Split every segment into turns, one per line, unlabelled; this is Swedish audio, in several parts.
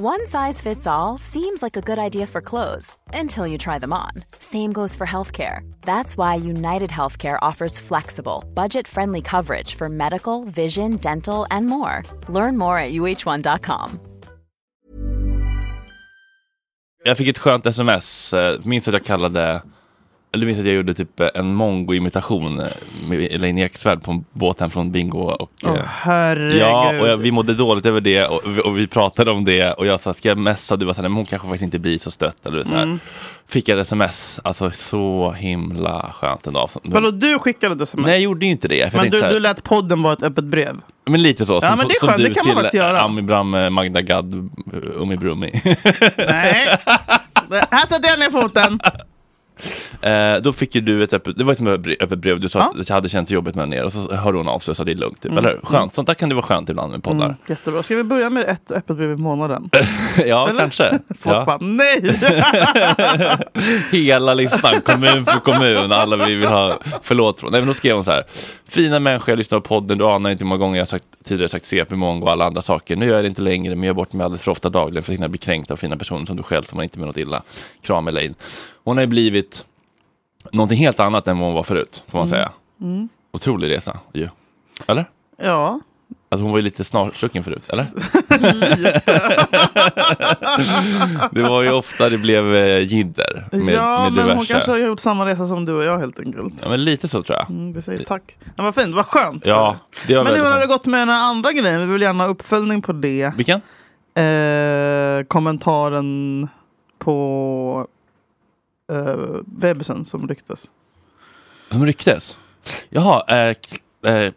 One size fits all seems like a good idea for clothes until you try them on. Same goes for healthcare. That's why United Healthcare offers flexible, budget friendly coverage for medical, vision, dental, and more. Learn more at uh1.com.
Jag fick ett skönt sms. eh, Minns att jag kallade, eller minns att jag gjorde typ eh, en mongo-imitation eh, med Elaine Eksvärd på båten från Bingo. Och,
Åh,
eh,
herregud.
ja, och jag, vi mådde dåligt över det och, vi- och vi pratade om det och jag sa, ska jag messa? Du var så här, "Nej, men hon kanske faktiskt inte blir så stött. Eller så här.
Mm.
Fick jag ett sms, alltså så himla skönt en dag.
Vadå, du skickade det som
Nej, jag gjorde ju inte det. För jag
Men
tänkte
du,
så här,
du lät podden vara ett öppet brev.
Men lite så.
Ja, men det är skönt, det kan man faktiskt göra.
Ami Bram, eh, Magda Gad, eh, Umi Brummi.
Nej, Det- här sätter jag ner foten.
Eh, då fick ju du ett öppet, det var ett öppet brev- öppet brev, du sa
Ja. Mm.
att det hade känts jobbigt med ner och så hörde hon av sig och sa det är lugnt. Typ. Eller hur? Skönt, sånt där kan det vara skönt ibland med poddar.
Jättebra. Ska vi börja med ett öppet brev i månaden?
ja,
Eller?
kanske.
Folk
Ja.
bara nej!
Hela listan, kommun för kommun, alla vi vill ha förlåt från. Nej, men då skrev hon så här. Fina människor, jag lyssnar på podden, du anar inte hur många gånger jag har sagt, tidigare sagt CP, många och alla andra saker. Nu gör jag det inte längre, men jag gör bort mig alldeles för ofta dagligen för att hinna bli kränkt av fina personer som du själv, som man inte menar något illa. Kram Elaine. Hon har ju blivit någonting helt annat än vad hon var förut, får man säga. Otrolig resa ju. Eller?
ja,
Alltså hon var ju lite snarstucken förut, eller? det var ju ofta det blev eh, jidder med,
ja
med
men hon
diverse.
kanske har gjort samma resa som du och jag helt enkelt.
Ja, men lite så tror jag.
Mm, vi säger tack. Ja, vad fint, vad skönt.
Ja, det var
men hur
väldigt
har det
skönt.
gått med den här andra grejen? Vi vill gärna ha uppföljning på det.
Vilken?
Eh, kommentaren på eh, bebisen som ryktes.
Som ryktes? Jaha, eh, k- eh,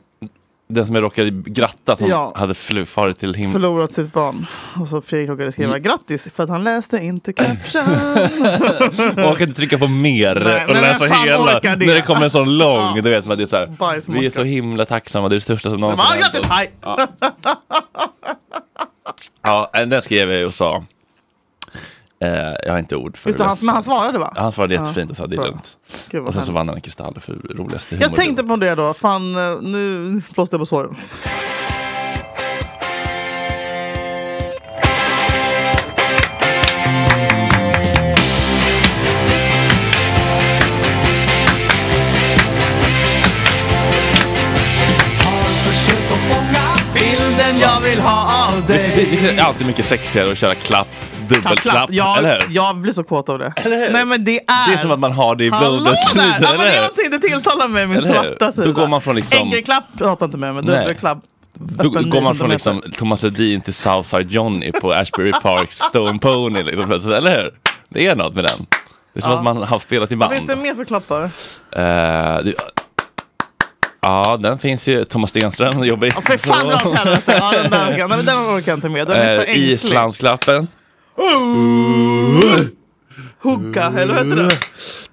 den som jag råkade gratta som
Ja.
hade flu- farit till himlen.
Förlorat sitt barn. Och så Fredrik råkade skriva grattis för att han läste inte caption.
Orkade inte trycka på mer
Nej,
och
men
läsa
vem fan
hela.
orkar det?
När det kommer en sån lång,
Ja.
du vet man det är så här.
Bajsmacka.
Vi är så himla tacksamma, det är det största som någonsin
Va,
hänt
grattis,
oss."
hej!
Ja, eh, den skrev jag ju och sa. Eh, jag har inte ord för
Just det,
hur
han, men han svarade va?
Han svarade jättefint och sa det är
bra.
lugnt.
Gud, vad
Och sen så
härligt.
vann han en kristall för roligaste
Jag
humor.
tänkte på det då, fan eh, nu plåster jag på såren. Bilden jag vill ha av
det, det, det är alltid mycket sexigare att köra klapp, dubbelklapp, eller
Jag,
hur?
jag blir så kåt av det. Nej men det är...
Det är som att man har det i
Hallå
blodet.
där! Ja, men det
eller
är
hur?
någonting, det tilltalar mig, min
Eller hur?
svarta sida.
Då går man från liksom-
Enkelklapp pratar inte med mig,
Nej.
dubbelklapp.
Då
öppen
går man
9
från liksom Thomas Ledin till Southside Johnny på Ashbury Parks Stone Pony, liksom, plötsligt, eller hur? Det är något med den. Det är som att man har spelat i
Vad
band.
finns det mer för klappar?
Eh, det- Ja, den finns ju. Thomas Stenström jobbar ju
Ja, för fan dra åt helvete! Ja, den där orkar jag inte. Nej, men Den orkar jag inte med. Den är så
eh,
ängslig.
Islandsklappen.
Hugga, eller vad heter det?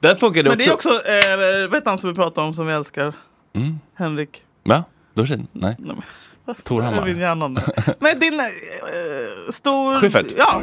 Den funkade
Men det är
också.
också, eh, vet han som vi pratar om som vi älskar? Henrik.
Ja, Dorsin? Nej.
Nej, men-
Torhammar.
Min hjärna nu. Men din eh, stor...
Schyffert.
Ja!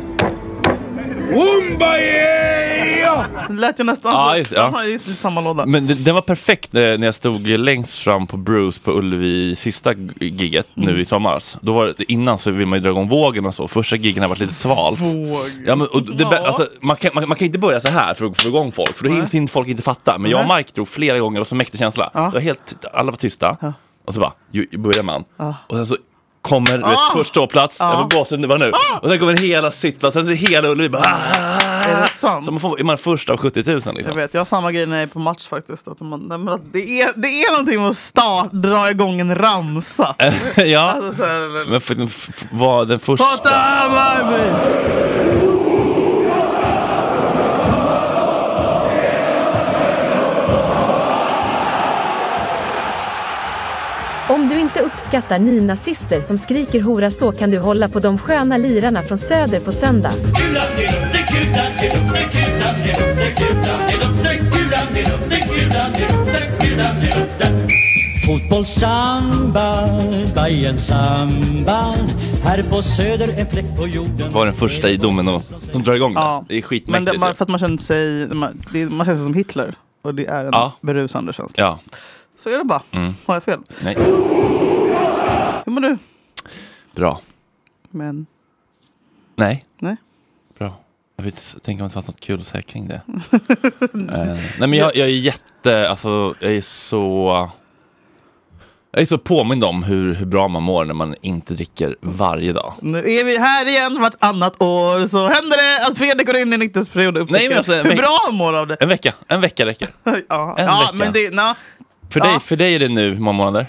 Det lät ju nästan
Ja,
så.
just det, ja.
De har ju lite samma låda.
Men den, den var perfekt eh, när jag stod längst fram på Bruce på Ullevi i sista g- giget
Mm.
nu i somras. Då var det, innan så vill man ju dra igång vågen och så. Första gigen har varit lite svalt.
Våg.
Ja, men, och det,
Ja.
Alltså, man, kan, man, man kan inte börja så här för att få igång folk, för då hinns inte folk inte fatta. Men jag och Mike drog flera gånger, och så mäktig känsla. Det var helt, alla var tysta, och så bara, ju, ju börjar man. Och sen så kommer du vet,
Ah!
först ståplats, jag får gåshud nu, bara nu. Och sen kommer hela sittplatsen, sen hela Ullevi bara...
Är det
Ah!
sant?
Så man får, är man först av 70 000
Jag
liksom.
vet, jag har samma grej när jag är på match faktiskt. Att man, nej, men att det, är, det är någonting med att start, dra igång en ramsa.
ja.
Alltså, så här,
Men för, f- f- var den första...
Prata med mig!
Om du inte uppskattar uppskattar ni nazister som skriker hora så kan du hålla på de sköna lirarna från söder på söndag.
Fotbollssamba, Bajen samba Här på söder en fläck på jorden
Var den första i domen som drar igång det. Det är
Men det,
skitmäktigt.
man, för att man känner sig, man, det, man känner sig som Hitler. Och det är en
Ja.
berusande känsla.
Ja, Mm.
Så är det bara. Har jag fel?
nej,
Hur mår du?
bra.
Men
Nej,
nej.
Bra. Jag vet inte, tänker om det fanns något kul att säga kring det. Eh, nej men jag, jag är jätte, alltså jag är så... Jag är så påmind om hur, hur bra man mår när man inte dricker varje dag.
Nu är vi här igen vartannat år. Så händer det att Fredrik går in i en nykterhetsperiod och
men
upptäcker
alltså, en
hur
veck-
bra han mår av det.
En vecka, en vecka räcker.
Ja,
en
ja
vecka.
men det, na,
För,
Ja.
dig, för dig är det nu hur många månader?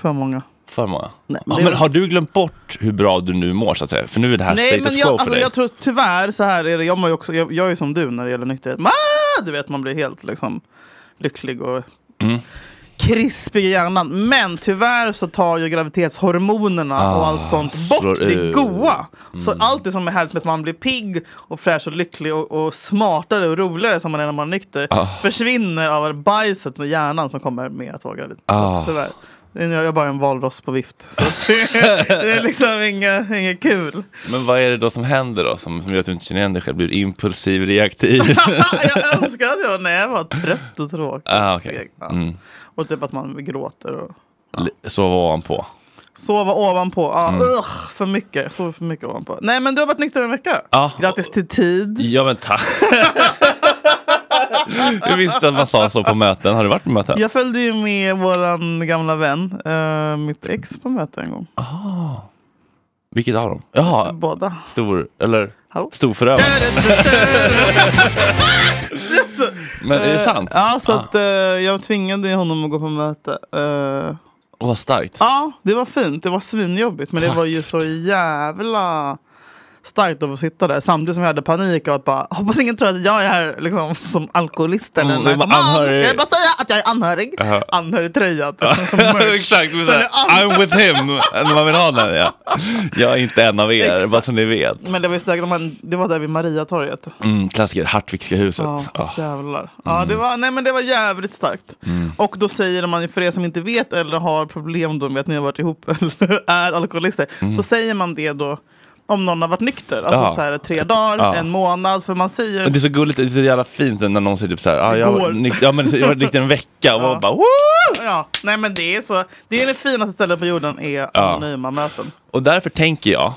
för många.
För många.
Nej,
ja,
det-
men har du glömt bort hur bra du nu mår så att säga? För nu är det här
Nej men
status
jag,
quo för
alltså,
dig.
jag tror tyvärr så här är det. Jag, mår ju också, jag, jag är ju som du när det gäller nykterhet. Ah, du vet man blir helt liksom lycklig och
Mm.
krispig i hjärnan. Men tyvärr så tar ju graviditetshormonerna och allt sånt
Ah, slår
bort det
ut. Mm.
goa. Så allt det som är härligt med att man blir pigg och fräsch och lycklig och, och smartare och roligare som man är när man är nykter
Ah.
försvinner av bajset och hjärnan som kommer med att vara gravid.
Ah.
Tyvärr. Jag är bara en valross på vift. Så att det, det är liksom inget inga kul.
Men vad är det då som händer då? Som, som gör att du inte känner igen dig själv? Blir du impulsiv, reaktiv?
jag önskar att jag när jag var trött och tråkig.
ah, okej.
Ja.
mm.
Och typ att man gråter och
Li- Sova ovanpå.
sova ovanpå. Ja,
Mm.
ugh, för mycket. Jag sover för mycket ovanpå. Nej men du har varit nykter en vecka.
Ja.
Grattis till tid.
Ja men tack. Jag visste att man sa så på möten. Har du varit på möten?
Jag följde ju med våran gamla vän, eh, mitt ex på möte en gång.
Vilket av dem? Jaha,
Båda.
stor, eller
Hallå?
stor förövare. Men är det sant? Ah.
Ja, så att eh, jag tvingade honom att gå på möte. Eh,
Åh, vad starkt.
Ja, det var fint. Det var svinjobbigt. Men det
Tack.
var ju så jävla starkt att få sitta där. Samtidigt som jag hade panik av att bara, hoppas ingen tror att jag är här liksom, som alkoholist eller
Mm, det var
narkoman.
anhörig.
Jag vill bara säga att jag är anhörig.
Aha.
Anhörigtröja. typ, som merch.
Exakt, men
Så
så
är det
här, I'm with him. När man vill ha den. Ja. Jag är inte en av er,
Exakt.
bara så ni vet.
Men det var ju starkt, om man- det var där vid Mariatorget.
Mm, klassiker, Hartwigska huset.
Ja,
Ja.
jävlar.
Mm.
Ja, det var, nej men det var jävligt starkt. Och då säger man ju, för er som inte vet eller har problem då med att ni har varit ihop eller är alkoholister, så säger man det då om någon har varit nykter. Alltså
Mm. Ja.
så här, tre dagar,
Ja.
en månad, för man säger...
Men det är så gulligt, det är så jävla fint när någon säger typ såhär, ah, jag,
Igår.
var nyk- ja, men jag var riktigt en vecka och bara Woo!
Ja, nej men det är så. Det är det finaste stället på jorden är anonyma möten.
Och därför tänker jag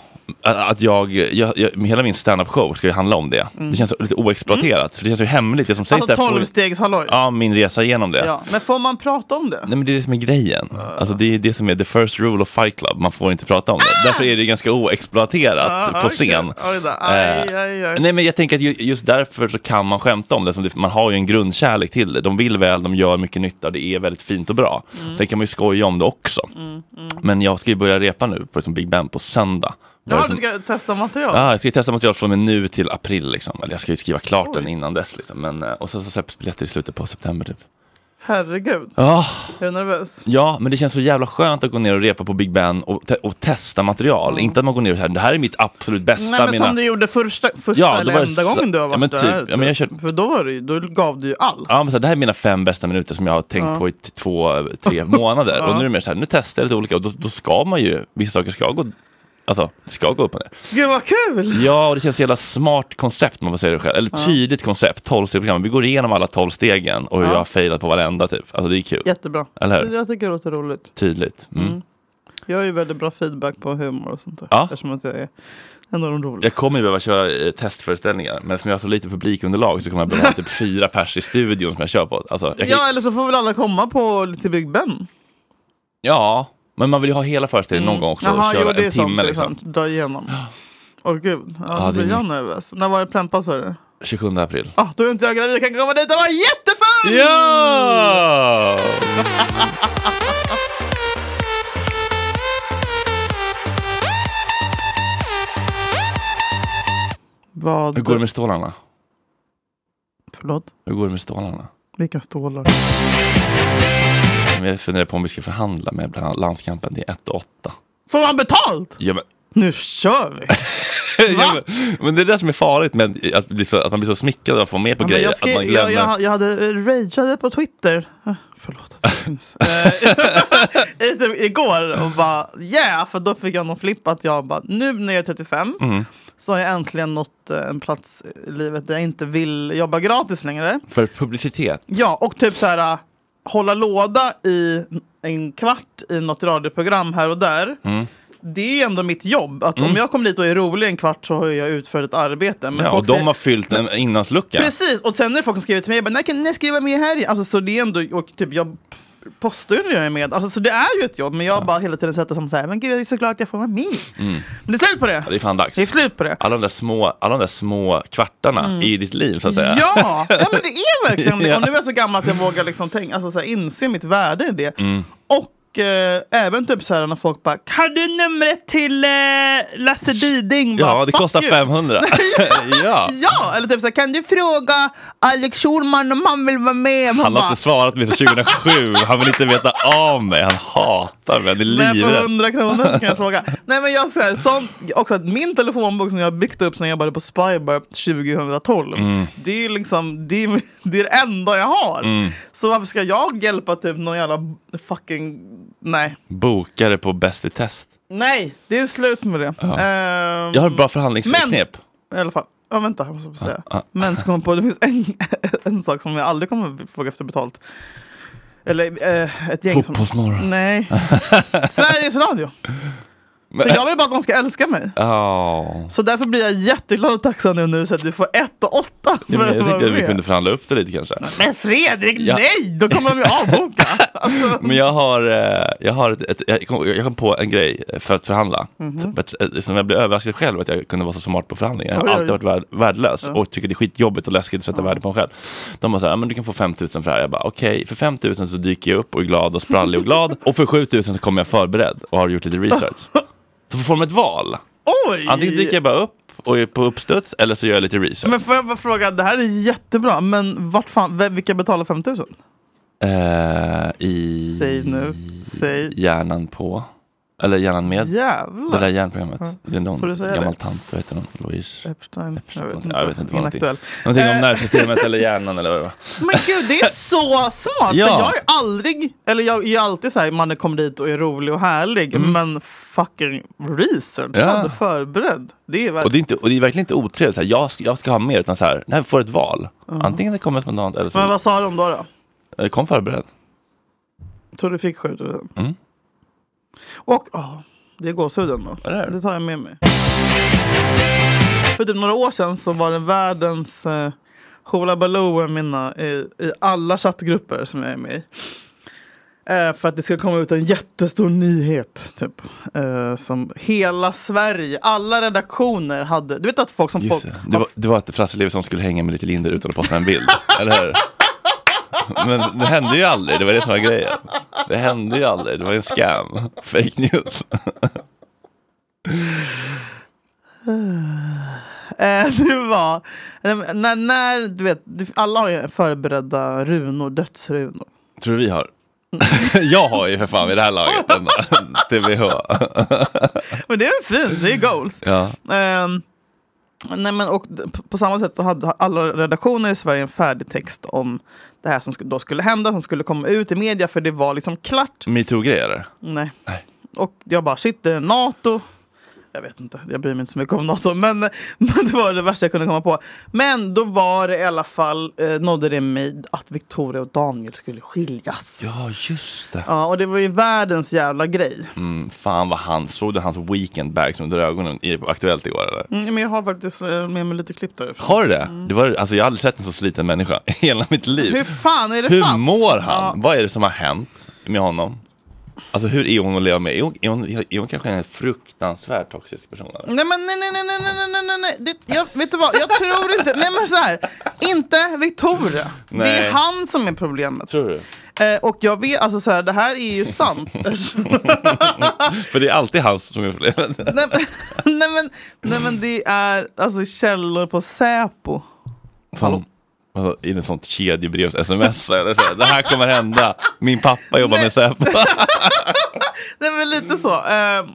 a- att jag, jag, jag hela min standup-show ska ju handla om det. Det känns så lite oexploaterat, för det känns ju hemligt. Det som sägs
Mm. Alltså
där får-
tolvstegshalloj. Ja.
Ja, min resa igenom det.
Men får man prata om det?
Nej men det är det som är grejen.
Ah.
Alltså det är det som är the first rule of fight club, man får inte prata om det. Därför är det ganska oexploaterat
Ja,
på
Ah! okej.
scen.
Oj då. Aj,
Eh,
aj, aj.
Nej men jag tänker att ju- just därför så kan man skämta om det, som det- man har ju en grundkärlek till det. De vill väl, de gör mycket nytta, det är väldigt fint och bra.
Mm.
Sen kan man ju skoja om det också. Men jag ska ju börja repa nu på liksom Big Ben på söndag.
Ja,
Börjar
du
liksom-
ska testa material.
Ja, jag ska ju testa material från och med nu till april liksom. Eller jag ska ju skriva klart den innan dess liksom. Men, eh, och sen så släpps biljetter i slutet på september typ.
Herregud,
Ah.
jag är nervös.
Ja, men det känns så jävla skönt att gå ner och repa på Big Ben och, te- och testa material. Inte att man går ner och säger det här är mitt absolut bästa.
Mm. Nej men
mina...
som du gjorde första, första
Ja, då
eller
var det
enda
så-
gången du har
Ja,
varit
men typ.
där.
Ja,
tror
men jag
jag.
kör-
För då, var det, ju- då gav du ju allt.
Ja, men så här, det här är mina fem bästa minuter som jag har tänkt på i t- två, eh, tre månader. Och nu är det mer så här, nu testar jag lite olika och då, då ska man ju, vissa saker ska gå, alltså, det ska gå upp och ner.
Gud vad kul!
Ja, och det känns så jävla smart koncept om man får säga det själv. Eller tydligt koncept, 12 program. Vi går igenom alla 12 stegen och hur jag har failat på varenda typ. Alltså det är kul.
Jättebra.
Eller hur?
Jag tycker det låter roligt.
Tydligt. Mm.
Jag har ju väldigt bra feedback på humor och sånt där.
Ja.
Eftersom att jag är en av de
Jag
roligaste.
kommer ju behöva köra eh, testföreställningar, men eftersom jag har så lite publikunderlag så kommer jag behöva ha typ fyra pers i studion som jag kör på. Alltså, jag kan,
Ja
ja.
eller så får väl alla komma på lite Big Ben.
men man vill ju ha hela föreställningen någon gång också och köra en timme
Mm. det är
liksom.
sant. Dra igenom. Åh gud, ja,
Ja,
då
det är
blir jag
mycket.
nervös. När var det plämpa sa du?
27 april.
Ah, då är inte jag gravid, jag kan komma dit och vara jättefull!
Ja!
Vad?
Hur går det med stålarna?
Förlåt?
Hur går det med stålarna?
Vilka stålar?
Men jag funderar på om vi ska förhandla med bland annat landskampen. Det är 1 och 8.
Får man betalt?
Ja, men,
Nu kör vi!
ja, men, men det är det som är farligt med att, bli så, att man blir så smickrad av att få med på
Ja, men
grejer.
jag, skrev,
att man glömmer.
jag, jag, jag hade eh, rageade på Twitter. Eh, Förlåt att det finns. Eh, lite typ Igår och bara yeah, för då fick jag någon flipp att jag bara nu när jag är 35
Mm.
så har jag äntligen nått eh, en plats i livet där jag inte vill jobba gratis längre.
För publicitet.
Ja, och typ så här äh, hålla låda i en kvart i något radioprogram här och där.
Mm.
Det är ändå mitt jobb. Att Om jag kommer dit och är rolig en kvart så har jag utfört ett arbete. Men
Ja,
folk
och de
säger-
har fyllt en inlandslucka.
Precis, och sen är det folk som skriver till mig bara, när kan ni skriva med här igen? Alltså så det är ändå, och typ jag postar ju när jag är med. Alltså så det är ju ett jobb, men jag bara hela tiden sätter som så här, men gud jag är så glad att jag får vara med. Men det är slut på det.
Mm. Ja, det är fan dags.
Det är slut på det. Mm.
Alla de där små, alla de där små kvartarna i ditt liv så att säga.
Ja, ja, men det är verkligen det.
Ja.
Och nu är jag så gammal att jag vågar liksom tänka, alltså, så här, inse mitt värde i det. Och eh, även typ så här när folk bara, kan du numret till eh, Lasse Diding? Bara,
Ja, det
"Fuck
kostar
you."
500. ja.
Ja, eller typ så här, kan du fråga Alex Schulman om han vill vara med? Man
Han har
bara,
inte svarat mig sedan 2007. Han vill inte veta av mig. Han hatar mig. Han är
Men för
livrädd.
100 kronor så kan jag fråga. Nej men jag säger sånt, också att min telefonbok som jag byggt upp sen jag jobbade på Spybar 2012.
Mm.
Det är ju liksom, det är, det är det enda jag har.
Mm.
Så varför ska jag hjälpa typ någon jävla fucking, nej.
Bokare på Bäst i test.
Nej, det är slut med det. Ehm,
Jag har ett bra förhandlingsknep.
I alla fall. Ja, vänta, jag måste bara säga.
Ja, ja.
Men så kom jag på, det finns en, en sak som jag aldrig kommer fråga efter betalt. Eller eh, ett gäng som...
Fotbollsmorgon.
Nej. Sveriges Radio. För jag vill bara att de ska älska mig.
Ja.
Så därför blir jag jätteglad och tacksam nu när du säger att du får ett och åtta för
Ja, men
att
Jag
vara
tänkte att vi
med.
kunde förhandla upp det lite kanske.
Men Fredrik,
Ja.
nej! Då kommer de ju avboka. Alltså,
Men jag har, eh, jag har ett, ett, jag, kom, jag kom på en grej eh, för att förhandla. Ett- ett- Som jag blev överraskad själv att jag kunde vara så smart på förhandlingar. Jag har
Oj, oj.
alltid varit värd, värdelös och tycker det är skitjobbigt och läskigt att sätta värde på mig själv. De var så här, "Ja, men du kan få 5 000 för det här. Jag bara, okej, för 5 000 så dyker jag upp och är glad och sprallig och glad. Och för 7 000 så kommer jag förberedd och har gjort lite research. Så får de ett val.
oj!
Antingen dyker jag bara upp och är på uppstuds eller så gör jag lite research.
Men får jag bara fråga, det här är jättebra, men vart fan, vem- vilka betalar 5000?
Eh, I
Säg nu, säg.
hjärnan på. Eller hjärnan med. Det där
Jävlar!
järnprogrammet. Det är någon
Får du säga
gammal
det?
tant, vad heter hon? Louise?
Epstein,
Epstein, jag vet inte vad någonting.
Inaktuell.
Någonting om
Eh.
nervsystemet eller hjärnan eller vad det var.
Men gud, det är så smart!
Ja.
För jag är aldrig, eller jag är alltid så här, man kommer dit och är rolig och härlig, men fucking research,
Mm. Ja.
jag hade förberedd. Det är
Och
verkligen...
det är, inte, och det är verkligen inte otrevligt, så här, jag, ska, jag ska ha mer, utan så här, när vi får ett val. Antingen det kommer spontant eller
Men
så
vad sa de då? då?
Eh, kom förberedd.
Tror du fick 7000?
Mm.
Och, ja, det är gåshuden då.
Eller hur?
Det tar jag med mig. För typ några år sedan så var det världens eh, Hoola Baloo, mina, i, i alla chattgrupper som jag är med i. Eh, för att det skulle komma ut en jättestor nyhet. Typ. Eh, som hela Sverige, alla redaktioner hade. Du vet att folk som
Just
folk...
det. Det, var, det var att Frasse Levinson skulle hänga med lite Linder utan att posta en bild, eller hur? Men det hände ju aldrig, det var det som var grejen. Det hände ju aldrig, det var ju en scam. Fake news.
Eh, det var... eh, När, när, du vet, du- alla har ju förberedda runor, dödsrunor.
Tror du vi har? jag har ju för fan vid det här laget en TBH.
Men det är väl fint, det är goals.
Ja.
Ehm, nej men, och d- p- på samma sätt så hade alla redaktioner i Sverige en färdig text om det här som sk- då skulle hända, som skulle komma ut i media, för det var liksom klart.
Metoo-grejer? eller?
Nej.
Nej.
Och jag bara, shit, det är NATO. Jag vet inte, jag bryr mig inte så mycket om NATO, men, men det var det värsta jag kunde komma på. Men då var det i alla fall, eh, nådde det mig att Victoria och Daniel skulle skiljas. Ja.
Ja, just det.
och det var ju världens jävla grej.
Mm, fan vad han, såg du hans weekendbag som under ögonen i Aktuellt igår eller?
Mm, men jag har faktiskt eh, med mig lite klipp därifrån. Mm.
Har du det? det var, alltså, jag har aldrig sett en så sliten människa i hela mitt liv.
Hur fan är det
Hur
sant?
mår han?
Ja.
Vad är det som har hänt med honom? Alltså hur är hon att leva med? Är hon, är hon, är hon kanske en fruktansvärt toxisk person? Eller?
Nej men nej nej nej nej nej nej nej nej det, jag, Vet du vad, jag tror inte, nej men så här Inte Victoria Det
Nej.
är han som är problemet
Tror du?
eh, Och jag vet, alltså så här, det här är ju sant
För det är alltid han som är problemet.
nej, men, nej men, nej men det är alltså källor på Säpo
Fan. Alltså, I en sånt kedjebrevs-sms. eller så här, Det här kommer hända. Min pappa jobbar med Säpo.
Det är väl lite så. Eh,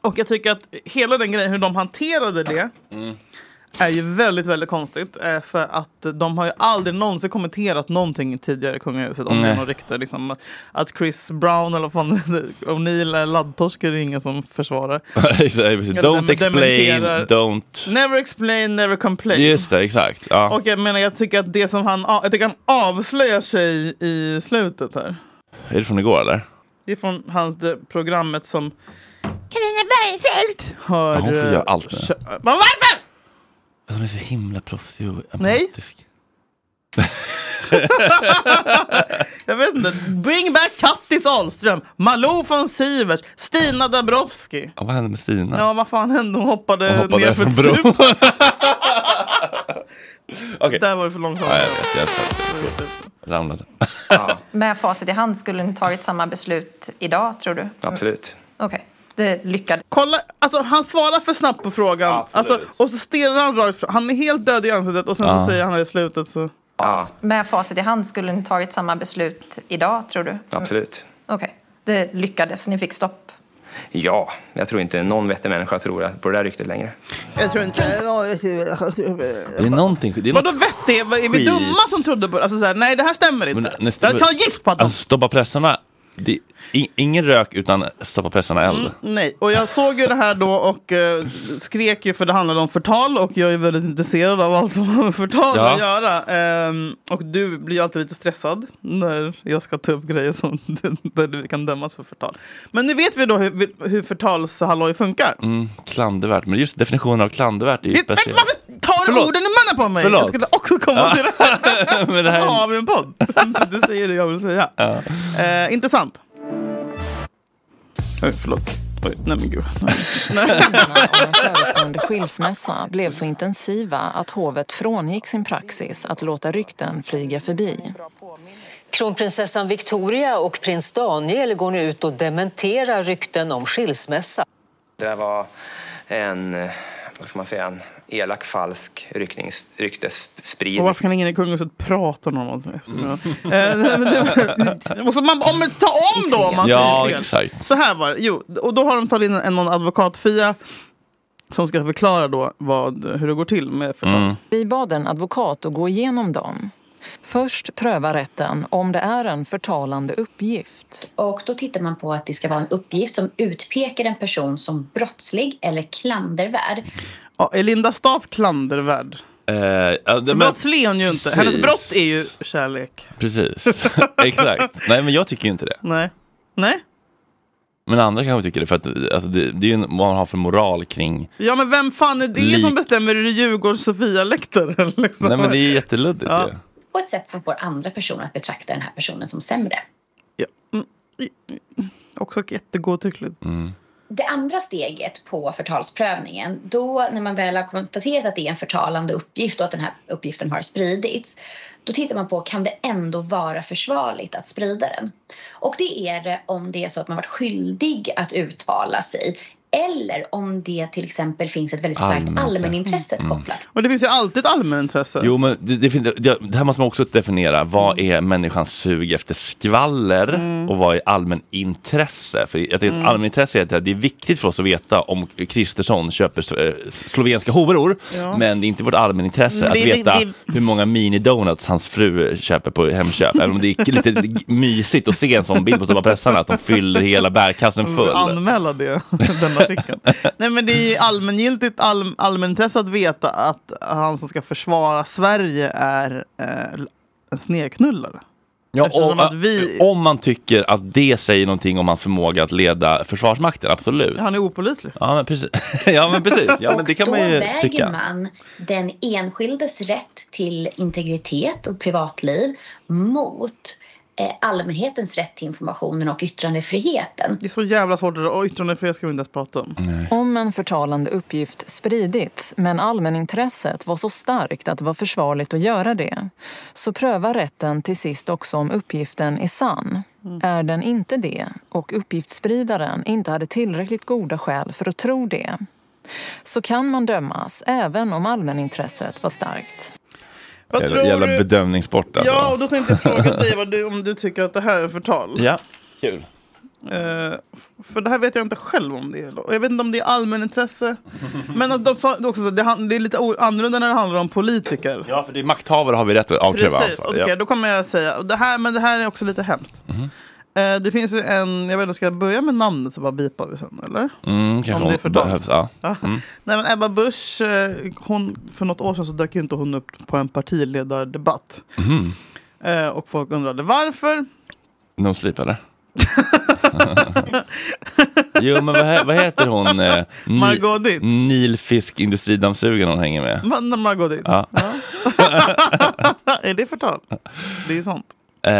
och jag tycker att hela den grejen hur de hanterade det är ju väldigt, väldigt konstigt. eh, För att de har ju aldrig någonsin kommenterat någonting tidigare i kungahuset om det är
Nej.
något rykte. Liksom, att Chris Brown eller vad fan O'Neill är laddtorsk är det ingen som försvarar.
Precis, don't explain,
dementerar.
don't...
Never explain, never complain.
Just det, exakt. Ja.
Och jag menar, jag tycker att det som han, jag tycker han avslöjar sig i slutet här.
Är det från igår eller? Alltså,
Det är från hans det programmet som
Carina Bergfeldt!
har...
Ja, hon får
eh,
göra allt nu.
kö- Men varför?
Hon är så himla proffsig och
Nej.
empatisk.
Jag vet inte. Bring back Kattis Ahlström, Malou von Sivers, Stina Dabrowski.
Ja, vad hände med Stina?
Ja, vad fan hände? Hon hoppade,
Hon hoppade
ner för
från
ett
bron.
stup.
Okej.
Där var det för långsamt.
Ja, jag vet, jag jag ramlade.
Alltså, Med facit i hand, skulle ni tagit samma beslut idag tror du?
Absolut.
Okej, det lyckades.
Kolla, alltså han svarar för snabbt på frågan.
Absolut.
Alltså, och så stirrar han rakt fram. Han är helt död i ansiktet och sen så säger han i slutet så.
Ja,
Med facit i hand, skulle ni tagit samma beslut idag tror du?
absolut.
Okej, det lyckades. Ni fick stopp.
Ja, jag tror inte någon vettig människa tror på det där ryktet längre.
Jag tror inte...
Det är någonting. Det är
Vadå
något-
vettig? Vad- Är vi
Skit.
dumma som trodde på det? Alltså så här, nej det här stämmer
Men
inte.
nästa-
jag tar gift på att de
Alltså, stoppa pressarna. Det är i- ingen rök utan stoppa pressarna eld.
Nej, och jag såg ju det här då och eh, skrek ju för det handlade om förtal och jag är väldigt intresserad av allt som har med förtal
Ja.
att göra. Ehm, och du blir ju alltid lite stressad när jag ska ta upp grejer som, där du kan dömas för förtal. Men nu vet vi då hur, hur förtalshalloj funkar.
Mm, klandervärt. Men just definitionen av klandervärt är ju
Det, men
speciell.
varför tar du
Förlåt.
orden i munnen på mig?
Förlåt.
Jag skulle också komma till det här.
Men det här
Nu
är...
har vi en podd. Du säger det jag vill säga. Eh, intressant. Oj, förlåt. Oj, nej men gud.
den förestående skilsmässa blev så intensiva att hovet frångick sin praxis att låta rykten flyga förbi.
Kronprinsessan Victoria och prins Daniel går nu ut och dementerar rykten om skilsmässa.
Det där var en, eh, vad ska man säga, en elak falsk ryktnings, ryktesspridning.
Och varför kan ingen i kungahuset prata normalt nu? Eh, Mm. och så man, om man tar om då om man
Ja,
säger fel.
exakt.
Så här var det. Jo, och då har de tagit in en någon advokat, Fia, som ska förklara då vad, hur det går till med förtal.
Mm.
Vi bad en advokat att gå igenom dem. Först pröva rätten om det är en förtalande uppgift.
Och då tittar man på att det ska vara en uppgift som utpekar en person som brottslig eller klandervärd.
Ja, är Linda Staaf klandervärd?
Eh, ja, det- men-
Brottslig är hon ju inte.
Precis.
Hennes brott är ju kärlek.
Precis. Exakt. Nej, men jag tycker inte det.
Nej. Nej?
Men andra kanske tycker det. För att alltså, det, det är ju en- vad man har för moral kring.
Ja, men vem fan är det
Lik-
som bestämmer? Är det Djurgårdens Sofia-läktaren? Liksom?
Nej, men det är jätteluddigt
Ja.
ju.
På ett sätt som får andra personer att betrakta den här personen som sämre.
ja. mm. Också jättegodtyckligt.
Det andra steget på förtalsprövningen, då när man väl har konstaterat att det är en förtalande uppgift och att den här uppgiften har spridits, då tittar man på kan det ändå vara försvarligt att sprida den? Och det är det om det är så att man varit skyldig att uttala sig eller om det till exempel finns ett väldigt starkt
Allmänt, ja. Mm.
allmänintresse kopplat
Och det finns ju alltid ett allmänintresse.
Jo, men det, det, fin- det, det här måste man också definiera. Vad
Mm.
är människans sug efter skvaller och vad är allmän intresse? För jag mm. allmän intresse är att det är viktigt för oss att veta om Kristersson köper s- eh, slovenska horor. Men det är inte vårt allmän intresse
Men
att
Mm, det- det-
veta
det-
hur många mini-donuts hans fru köper på Hemköp. Även om det är lite g- mysigt att se en sån bild på Stoppa pressarna, att de fyller hela bärkassen
Mm,
full.
anmäla det, den artikeln. Nej men det är ju allmängiltigt all, allmänintresse att veta att han som ska försvara Sverige är eh, en snedknullare.
Ja,
Eftersom
om,
att vi-
om man tycker att det säger någonting om hans förmåga att leda Försvarsmakten, absolut.
Han är opålitlig.
Ja men precis. Ja men precis. Ja men det kan
då
man ju
väger
tycka.
man den enskildes rätt till integritet och privatliv mot eh, allmänhetens rätt till informationen och yttrandefriheten.
Det är så jävla svårt att och yttrandefrihet ska vi inte ens prata om.
Om en förtalande uppgift spridits men allmänintresset var så starkt att det var försvarligt att göra det så prövar rätten till sist också om uppgiften är sann. Är den inte det och uppgiftsspridaren inte hade tillräckligt goda skäl för att tro det så kan man dömas även om allmänintresset var starkt.
Vad
Jävla,
tror
jävla
du-
bedömningssport alltså.
Ja, och då tänkte jag fråga dig vad du, om du tycker att det här är förtal.
Ja, kul.
Eh, för det här vet jag inte själv om det är. Och Jag vet inte om det är allmänintresse. Men att de sa, det, är också, så, det, han- det är lite o- annorlunda när det handlar om politiker.
Ja, för det är makthavare har vi rätt att avkräva
Precis,
ansvar.
okej,
Ja.
då kommer jag säga. och Det här, men det här är också lite hemskt.
Mhm.
Eh, det finns ju en, jag vet inte, ska jag börja med namnet så bara bipar vi sen, eller?
Mm, kanske
om det är
hon-
förtal.
behövs, ja.
Ja.
Mm.
Nej, men Ebba Busch, eh, hon, för något år sedan så dök ju inte hon upp på en partiledardebatt.
Mhm.
Eh, och folk undrade varför.
No sleep eller? jo men vad, he- vad heter hon? Eh, Ni-
Margot Dietz.
Nilfisk industridammsugaren hon hänger med.
Man, man går dit.
Ja.
är det förtal? Det är ju sånt.
Eh,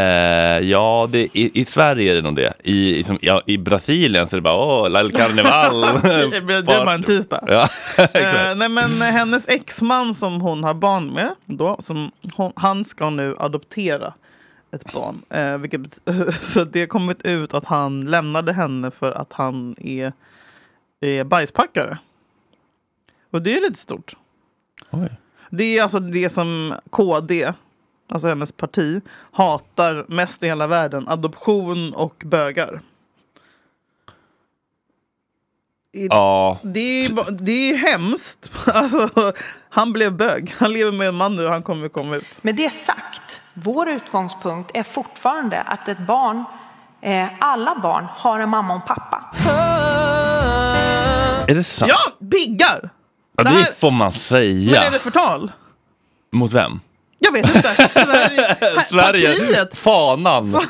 ja, det, i, i Sverige är det nog det. I, i, som, ja, I Brasilien så är det bara åh, La Carnival.
det blir- det är bara en tisdag.
Ja,
Eh, nej men hennes exman som hon har barn med, då, som hon, han ska nu adoptera ett barn. Eh, vilket, bet- så det har kommit ut att han lämnade henne för att han är, är bajspackare. Och det är lite stort. Det är alltså det som KD, alltså hennes parti, hatar mest i hela världen. Adoption och bögar. I-
Ja.
Det är, ju ba- det är ju hemskt. Alltså, han blev bög. Han lever med en man nu och han kommer komma ut.
Med det sagt, vår utgångspunkt är fortfarande att ett barn, eh, alla barn, har en mamma och en pappa.
Är det sant?
Ja, biggar!
Ja, det,
det här-
får man
Men
säga.
är det förtal?
Mot vem?
Jag vet inte. Sverige. här,
Sverige.
Partiet.
Fanan.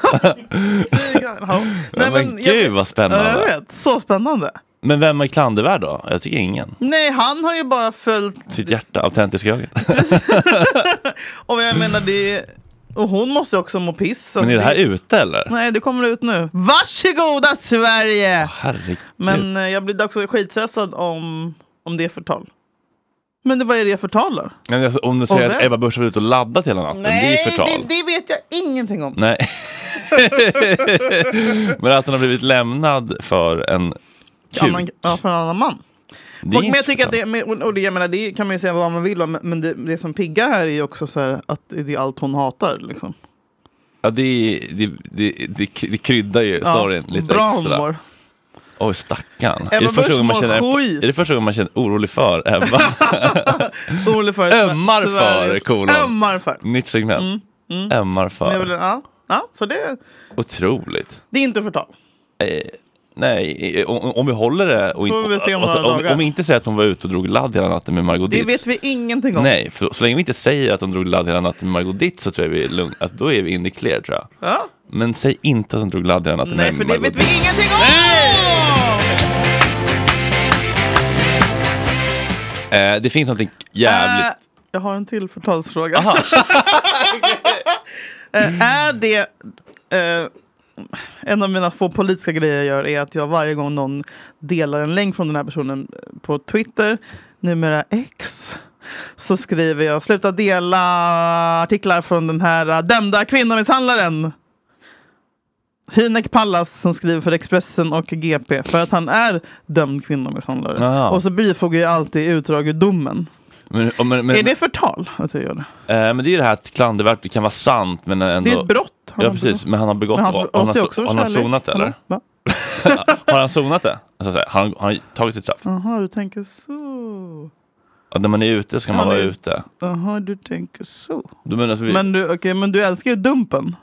Ja.
Nej, men,
jag
gud
vet-
vad
Ja, jag
spännande.
vet. Så spännande.
men vem är klandervärd då? Jag tycker ingen.
Nej, han har ju bara följt
Sitt hjärta, autentiska ögat.
Och jag menar det Och hon måste också må piss.
Men är det här ute eller?
Nej, det kommer ut nu. Varsågoda
Ah,
Sverige!
Herregud.
Men eh, jag blir också skitstressad om, om det är förtal. Men det, vad är det förtal då?
Men alltså, Om du
Och
säger
vem?
att Ebba Busch har varit ute och laddat hela natten, det är ju förtal.
det, det vet jag ingenting om.
Nej. Men att han har blivit lämnad för en
Annan,
kuk.
ja, för en annan man.
Det är
och, men jag
inte
tycker att det, men- och det, jag menar, det kan man ju säga vad man vill om, men det, det som piggar här är ju också så här att det är allt hon hatar. Liksom.
Ja, det, är- det, det, det, det kryddar ju storyn lite
bra
extra.
humor.
Oj, stackarn.
Ebba
är, det första
Busch
gången man
mår
känner,
skit.
är det första gången man känner orolig för Ebba?
Orolig för
Ömmar för,
Sveriges-
kolon.
Ömmar för.
Nytt segment.
Mm, mm.
Ömmar
Men jag
för.
vill, ja, ja, så det,
Otroligt.
det är inte förtal.
Eh, nej, eh, om, om vi håller det och,
Får
inte-
vi se om några
om,
dagar.
om vi inte säger att hon var ute och drog ladd hela natten med Margot
Det
Dietz.
vet vi ingenting om.
Nej, för så länge vi inte säger att de drog ladd hela natten med Margot Dietz så tror jag vi är lugna. Alltså, då är vi in the clear tror jag.
Ja?
Men säg inte att de drog ladd hela natten
Nej,
med
för det
Margot
vet vi ingenting om!
Eh, det finns någonting jävligt...
Äh, jag har en till förtalsfråga. Eh, är det... eh, en av mina få politiska grejer jag gör är att jag varje gång någon delar en länk från den här personen eh, på Twitter, numera X, så skriver jag sluta dela artiklar från den här eh, dömda kvinnomisshandlaren. Hynek Pallas som skriver för Expressen och GP för att han är dömd kvinnomisshandlare.
Jaha.
Och så bifogar jag alltid utdrag ur domen.
Men, och- men, men,
är det förtal att jag gör det?
eh, men det är ju det här att klandervärt det kan vara sant men ändå...
Det är ett brott.
Ja precis, men han har begått
Men han
och- och han har,
brott är
so-
också
och han har
kärlek.
sonat det eller?
Va?
har han sonat det? Alltså, så här, har, han, har han tagit sitt straff?
Jaha, du tänker så.
Ja, när man är ute ska man
Ja,
vara
nu-
ute.
Jaha, du tänker så.
Då menas vi,
Men du, okay, men du älskar ju Dumpen.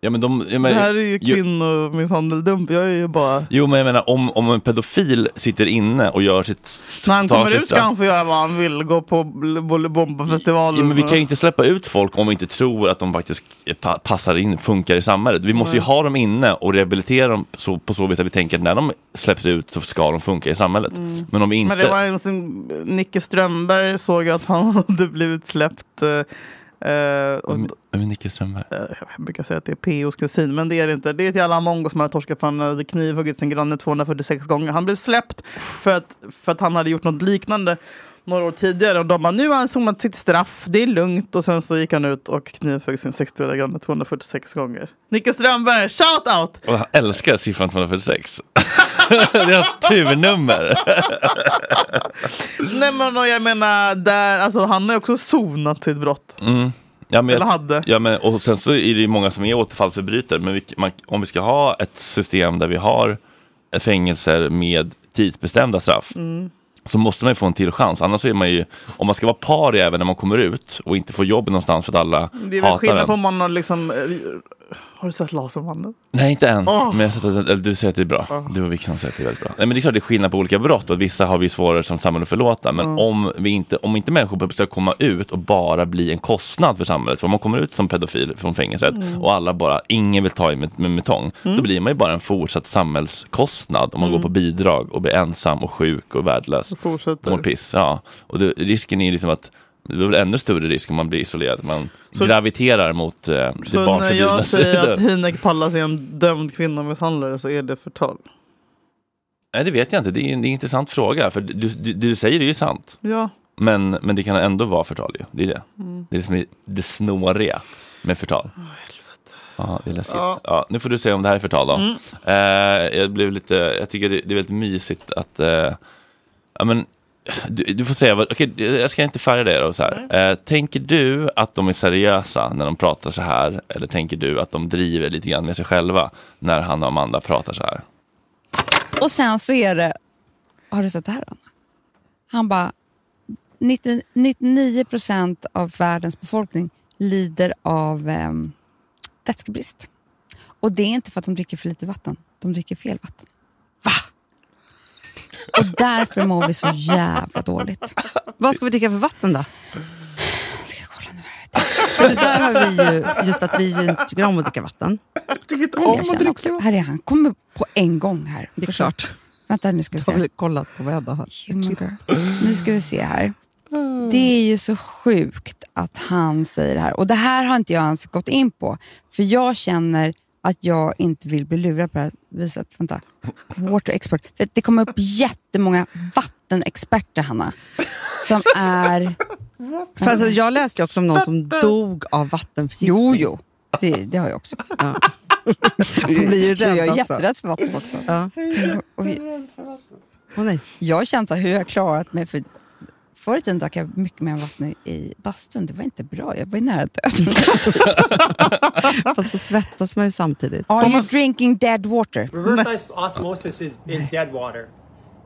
ja, men de, ja, men,
det här är ju
jo-
kvinnomisshandel-dump. Jag är ju bara...
Jo men jag menar om, om en pedofil sitter inne och gör sitt
När han
tar
kommer
sitt
ut ska
straff-
han få göra vad han vill. Gå på bl- bl- bombafestivalen.
Ja, men vi kan ju inte släppa ut folk om vi inte tror att de faktiskt pa- passar in, funkar i samhället. Vi måste ju
Nej.
ha dem inne och rehabilitera dem så, på så vis att vi tänker att när de släpps ut så ska de funka i samhället.
Mm.
Men om vi inte...
Men det var en som Nicke Strömberg såg att han hade blivit släppt. eh, eh, och,
Vem är Nicke Strömberg?
Eh, jag brukar säga att det är POs kusin, men det är det inte. Det är ett jävla mongo som har torskat för han hade knivhuggit sin granne 246 gånger. Han blev släppt för att, för att han hade gjort något liknande några år tidigare. Och de bara, nu har han sonat sitt straff, det är lugnt. Och sen så gick han ut och knivhögg sin 60-åriga granne 246 gånger. Nicke Strömberg, shout out!
Och jag älskar siffran 246. Deras turnummer.
Nej men och jag menar, där, alltså, han har ju också sonat sitt brott.
Mm. Ja, men,
Eller hade.
Ja, men, och sen så är det ju många som är återfallsförbrytare. Men vi, man, om vi ska ha ett system där vi har fängelser med tidsbestämda straff.
Mm.
så måste man ju få en till chans. Annars är man ju, om man ska vara par även när man kommer ut och inte får jobb någonstans för att alla
Det är väl
hatar en.
skillnad på om man har liksom... eh, Har du sett Lasermannen?
Nej, inte än.
Åh.
Men jag har sett att, eller du säger att det är bra.
Ja.
Du och vi kan säga att det är väldigt bra. Nej, men det är klart det är skillnad på olika brott och vissa har vi svårare som samhälle att förlåta. Men
Mm.
om, vi inte, om inte människor ska komma ut och bara bli en kostnad för samhället. För om man kommer ut som pedofil från fängelset
Mm.
och alla bara, ingen vill ta i med, med, med tång. Då blir man ju bara en fortsatt samhällskostnad om man
Mm.
går på bidrag och blir ensam och sjuk och värdelös.
Och fortsätter.
Mår piss, ja. Och det, risken är ju liksom att det är väl ännu större risk om man blir isolerad. Man
Så-
graviterar mot eh, det
Så när
barnförbjudna
jag säger
sidor.
att Hinek Pallas är en dömd kvinnomisshandlare så är det förtal.
Nej, det vet jag inte. Det är en, det är en intressant fråga. För du, du, du säger det ju sant.
Ja.
Men, men det kan ändå vara förtal ju. Det är det.
Mm.
Det är det som är det snåriga med förtal. Ja, det är läskigt.
Ja.
Ja. nu får du säga om det här är förtal då.
Mm.
Eh, jag, blev lite, jag tycker det, det är väldigt mysigt att... eh, ja, men, du, du får säga, vad, okej, jag ska inte färga dig då. Så här. Eh, tänker du att de är seriösa när de pratar så här? Eller tänker du att de driver lite grann med sig själva när han och Amanda pratar så här?
Och sen så är det, har du sett det här Anna? Han bara, 90 99 procent av världens befolkning lider av eh, vätskebrist. Och det är inte för att de dricker för lite vatten, de dricker fel vatten. Va? Och därför mår vi så jävla dåligt.
Vad ska vi dricka för vatten då?
För det där
har vi ju, just att vi inte tycker om att dricka vatten.
Nej, men jag känner också, här är han, kommer på en gång här. Det är klart. Vänta nu ska vi se.
Har vi kollat på vad jag har? Mm.
Human girl. Nu ska vi se här. Det är ju så sjukt att han säger det här. Och det här har inte jag ens gått in på. För jag känner att jag inte vill bli lurad på det här viset. Vänta. Water expert. För att Det kommer upp jättemånga vattenexperter, Hanna. Som är...
För
Mm.
alltså, jag läste ju också om någon som dog av vattenförgiftning. Jo,
jo. Det, har jag också.
Ja. Man blir ju
Så
rädd
jag är
också.
jätterädd för vatten också.
Ja. nej.
Jag har känt så här, hur jag har klarat mig. För förr i tiden drack jag mycket mer vatten i- i bastun. Det var inte bra. Jag var ju nära döden.
Fast då svettas man ju samtidigt.
Are you drinking dead water?
Reverse os- osmosis is, is dead water,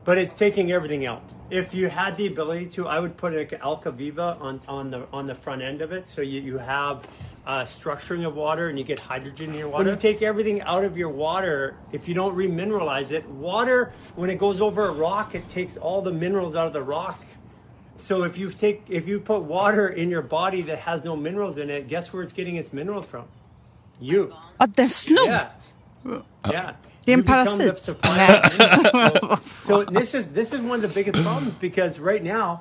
but it's taking everything out. If you had the ability to, I would put like Alkaviva on, on the on the front end of it, so you, you have uh, structuring of water and you get hydrogen in your water. When you take everything out of your water, if you don't remineralize it, water when it goes over a rock, it takes all the minerals out of the rock. So if you take if you put water in your body that has no minerals in it, guess where it's getting its minerals from? You.
Ah, den snor!
Yeah.
Det är en
You become the
parasit.
supplier. so, so this is this is one of the biggest problems because right now,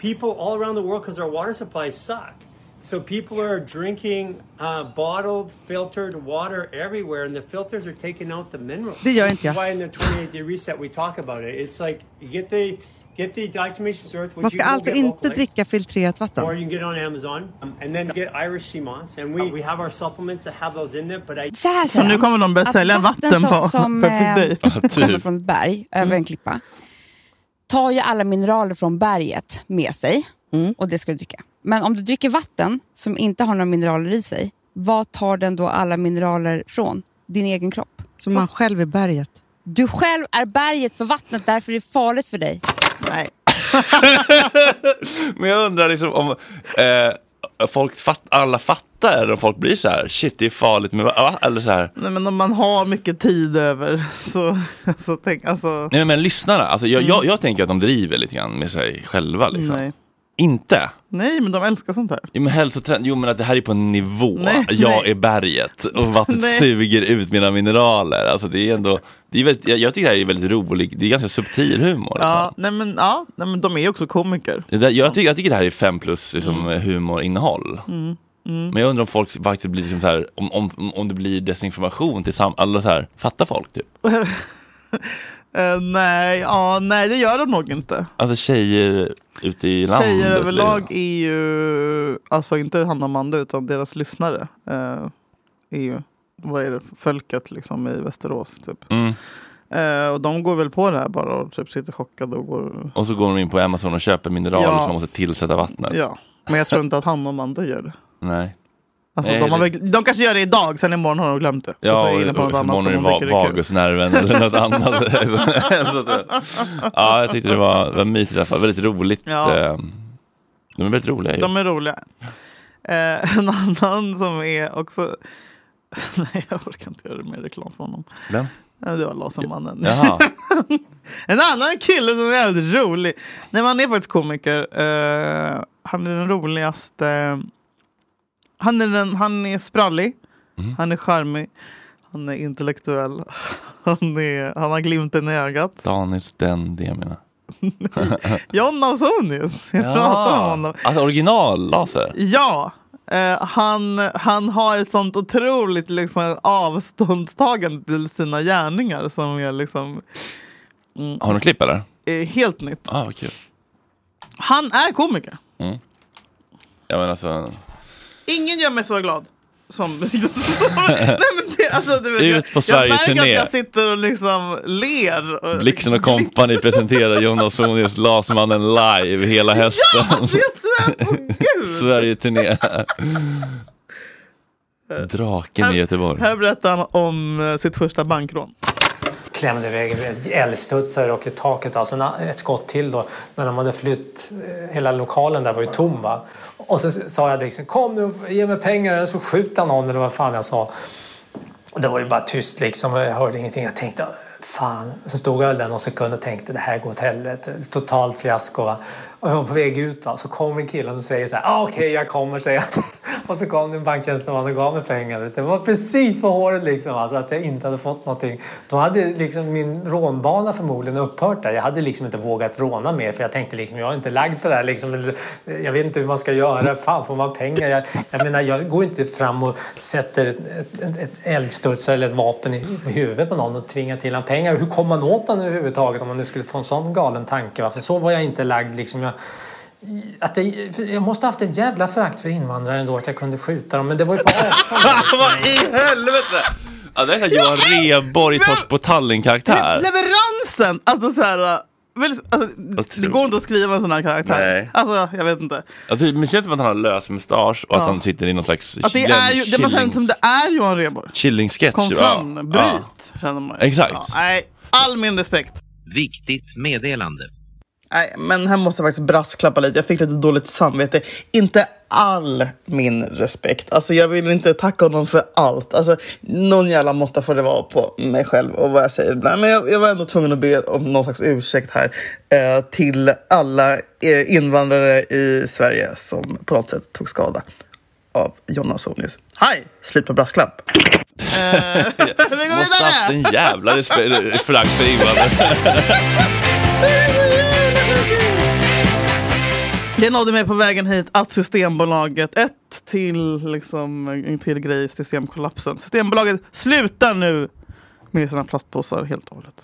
people all around the world because our water supplies suck. So people are drinking uh, bottled, filtered water everywhere, and the filters are taking out the minerals.
Det gör inte jag.
Why in the 28 day reset we talk about it? It's like you get the get the diatomaceous earth.
Man
which you
ska
can go
alltså
get
inte
locally.
dricka filtrerat
Or you
vatten.
can get it on Amazon, um, and then get Irish sea moss, and we, we have our supplements that have those in it. But I
Så här
Så nu kommer de börja
att
sälja vatten
som,
på-
som
på Mm. dig.
eh,
Ja, typ.
kommer från ett berg över en klippa tar ju alla mineraler från berget med sig
Mm.
och det ska du dricka. Men om du dricker vatten som inte har några mineraler i sig, vad tar den då alla mineraler från? Din egen kropp.
Så man själv är berget.
Du själv är berget för vattnet, därför är det farligt för dig.
Nej.
Men jag undrar liksom om eh, folk fatt, alla fattar eller om folk blir så här, shit det är farligt med va? Eller så här.
Nej men om man har mycket tid över så... Alltså, tänk, alltså,
Nej men, men lyssnarna, alltså, jag,
Mm.
jag, jag tänker att de driver lite grann med sig själva. Liksom.
Nej.
Inte?
nej men de älskar sånt här.
Jo men, hälsoträning, jo men att det här är på en nivå.
Nej,
jag
nej.
är berget och vattnet
Nej.
suger ut mina mineraler. Alltså, det är ändå, det är väldigt, jag, jag tycker det här är väldigt roligt, det är ganska subtil humor. Liksom.
Ja, nej, men, ja, nej men de är ju också komiker.
Det där, jag, tycker, jag tycker det här är fem plus liksom, humorinnehåll.
Mm. Mm.
Men jag undrar om folk faktiskt blir liksom så här, om, om, om det blir desinformation till sam- alla så här, fattar folk typ?
Eh, nej, ja, nej det gör de nog inte.
Alltså tjejer ute i landet.
Tjejer
liksom.
överlag är ju, alltså inte Hanna och Amanda utan deras lyssnare eh, är ju, vad är det, folket liksom i Västerås typ.
Mm.
Eh, och de går väl på det här bara och typ sitter chockade och går...
Och så går de in på Amazon och köper mineraler
Ja.
som man måste tillsätta vattnet.
Ja. Men jag tror inte att han och Amanda gör det.
Nej.
Alltså,
Nej,
de, har
det-
väl, de kanske gör det idag, sen imorgon har de glömt det.
Ja,
så är de inne på något
och
annat
förmodligen
som de
va-
tycker är kul.
vagusnerven eller något annat. Så att det- ja, jag tyckte det var, var mysigt i alla fall. Väldigt roligt.
Ja.
eh, De är väldigt roliga ju.
De är roliga. Eh, en annan som är också... Nej, jag orkar inte göra mer reklam för honom.
Vem?
Nej, Det var Lasermannen.
Jaha.
en annan kille som är jävligt rolig. Nej, men han är faktiskt komiker. Eh, han är den roligaste. Han är, den, han är sprallig. Han är charmig. Han är intellektuell. Han, är, han har glimten i ögat.
Daniel Sten, det jag menar.
John Ausonius. Jag
Ja.
pratar om honom.
Alltså originallaser.
Ja, eh, han, han har ett sånt otroligt liksom, avståndstagande till sina gärningar som är liksom mm,
Har du något klipp eller?
eh, helt nytt.
Ja, ah, vad kul.
Han är komiker.
Mm. Ja, men alltså.
Ingen gör mig så glad. Som... Nej, men det, alltså, du vet,
Ut på
jag, jag märker
Sverige-turné.
att jag sitter och liksom ler. Och,
Blixten och kompani presenterar Jonas Sonius Lasermannen live hela hösten. Ja, alltså
jag svär på gud!
Sverige-turné. Draken i Göteborg.
Här berättar han om eh, sitt första bankrån.
klämde iväg älgstudsar och i taket. Alltså na- ett skott till då när de hade flytt. eh, Hela lokalen där var ju tom. Va? Och sen s- sa jag liksom kom nu ge mig pengar eller så skjuta någon eller vad fan jag sa. Och det var ju bara tyst liksom. Jag hörde ingenting. Jag tänkte fan. Sen stod jag där någon sekund och tänkte det här går åt helvete. Totalt fiasko. Va? Och jag var på väg ut va? så kommer killen och säger så här ah, okej jag kommer säger han. Och så kom det en banktjänsteman och gav mig pengar. vet du. Det var precis på håret liksom, alltså, att jag inte hade fått någonting. Då hade liksom min rånbana förmodligen upphört där. Jag hade liksom inte vågat råna mer för jag tänkte liksom, jag är inte lagd för det här. Liksom, Eller, eh, jag vet inte hur man ska göra. Fan, får man pengar? Jag, jag menar, jag går inte fram och sätter ett, ett, ett, ett älgstudsar eller ett vapen i, i huvudet på någon och tvingar till honom pengar. Hur kommer man åt honom överhuvudtaget om man nu skulle få en sån galen tanke? Va? För så var jag inte lagd. Liksom, jag, att jag, jag måste ha haft ett jävla förakt för invandrare ändå att jag kunde skjuta dem. Men det var ju på avstånd.
Vad i helvete! Ja, det här är Johan Rheborg, Torsk på Tallinn-karaktär.
Leveransen! Alltså så här... eh, Väl, alltså, det går inte att skriva en sån här karaktär.
Nej.
Alltså, jag vet inte.
Alltså, men känns det som att han har lös mustasch och
Ja.
att han sitter i någon slags
Att det, är ju, det man känner som det är Johan Rheborg.
chilling-sketch.
Kom fram,
ja.
bryt,
Ja.
känner man ju.
Exakt.
Ja, nej, all min respekt.
Viktigt meddelande.
Nej, men här måste jag faktiskt brasklappa lite. Jag fick lite dåligt samvete. Inte all min respekt. Alltså, jag vill inte tacka honom för allt. Alltså, någon jävla måtta får det vara på mig själv och vad jag säger. Nej, men jag, jag var ändå tvungen att be om någon slags ursäkt här eh, till alla eh, invandrare i Sverige som på något sätt tog skada av Jonna Sonius. Hej! Slut på brasklapp. Eh,
Måste haft en jävla respe- förakt för invandrare.
Det nådde mig på vägen hit att Systembolaget, ett till, liksom, en till grej i systemkollapsen. Systembolaget slutar nu med sina plastpåsar helt och hållet.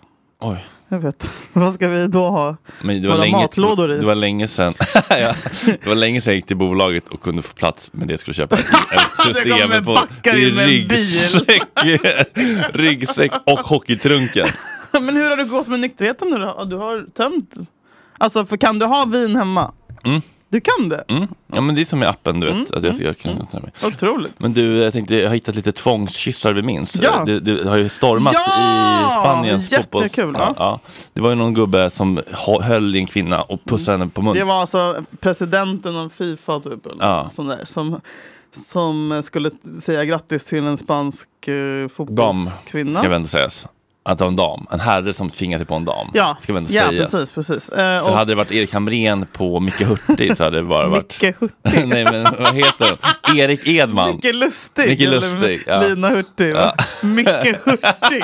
Oj.
Jag vet. Vad ska vi då ha?
Men det var,
Våra
länge,
matlådor i?
det var länge sedan ja, Det var länge sedan jag gick till bolaget och kunde få plats med det jag skulle köpa. i en
kommer
Systemet på
backar
i
in med en bil.
ryggsäck, ryggsäck och hockeytrunken.
Men hur har det gått med nykterheten nu då? Du har tömt? Alltså, för kan du ha vin hemma?
Mm.
Du kan det?
Mm. Ja men det är som i appen du vet.
Mm,
Att jag, jag kan, mm.
Otroligt.
Men du, jag tänkte, jag har hittat lite tvångskyssar vi minns. Eh,
Ja.
Det, det har ju stormat
Ja,
i Spaniens fotboll.
jättekul,
Ja,
ja.
ja. Det var ju någon gubbe som hå- höll i en kvinna och pussade henne på munnen.
Det var alltså presidenten av Fifa typ, eller
Ja.
sån där, som, som skulle säga grattis till en spansk eh,
dam,
fotbollskvinna.
ska väl ändå sägas. Att det var en dam. En herre som tvingade sig på en dam.
Ja,
ska väl ändå
ja
sägas.
precis. precis. Eh,
För
och
hade det varit Erik Hamrén på Micke Hurtig så hade det bara varit...
Micke Hurtig.
Nej men vad heter hon? Erik Edman.
Micke Lustig.
Micke
eller
Lustig, ja.
Lina Hurtig. va? Micke Hurtig.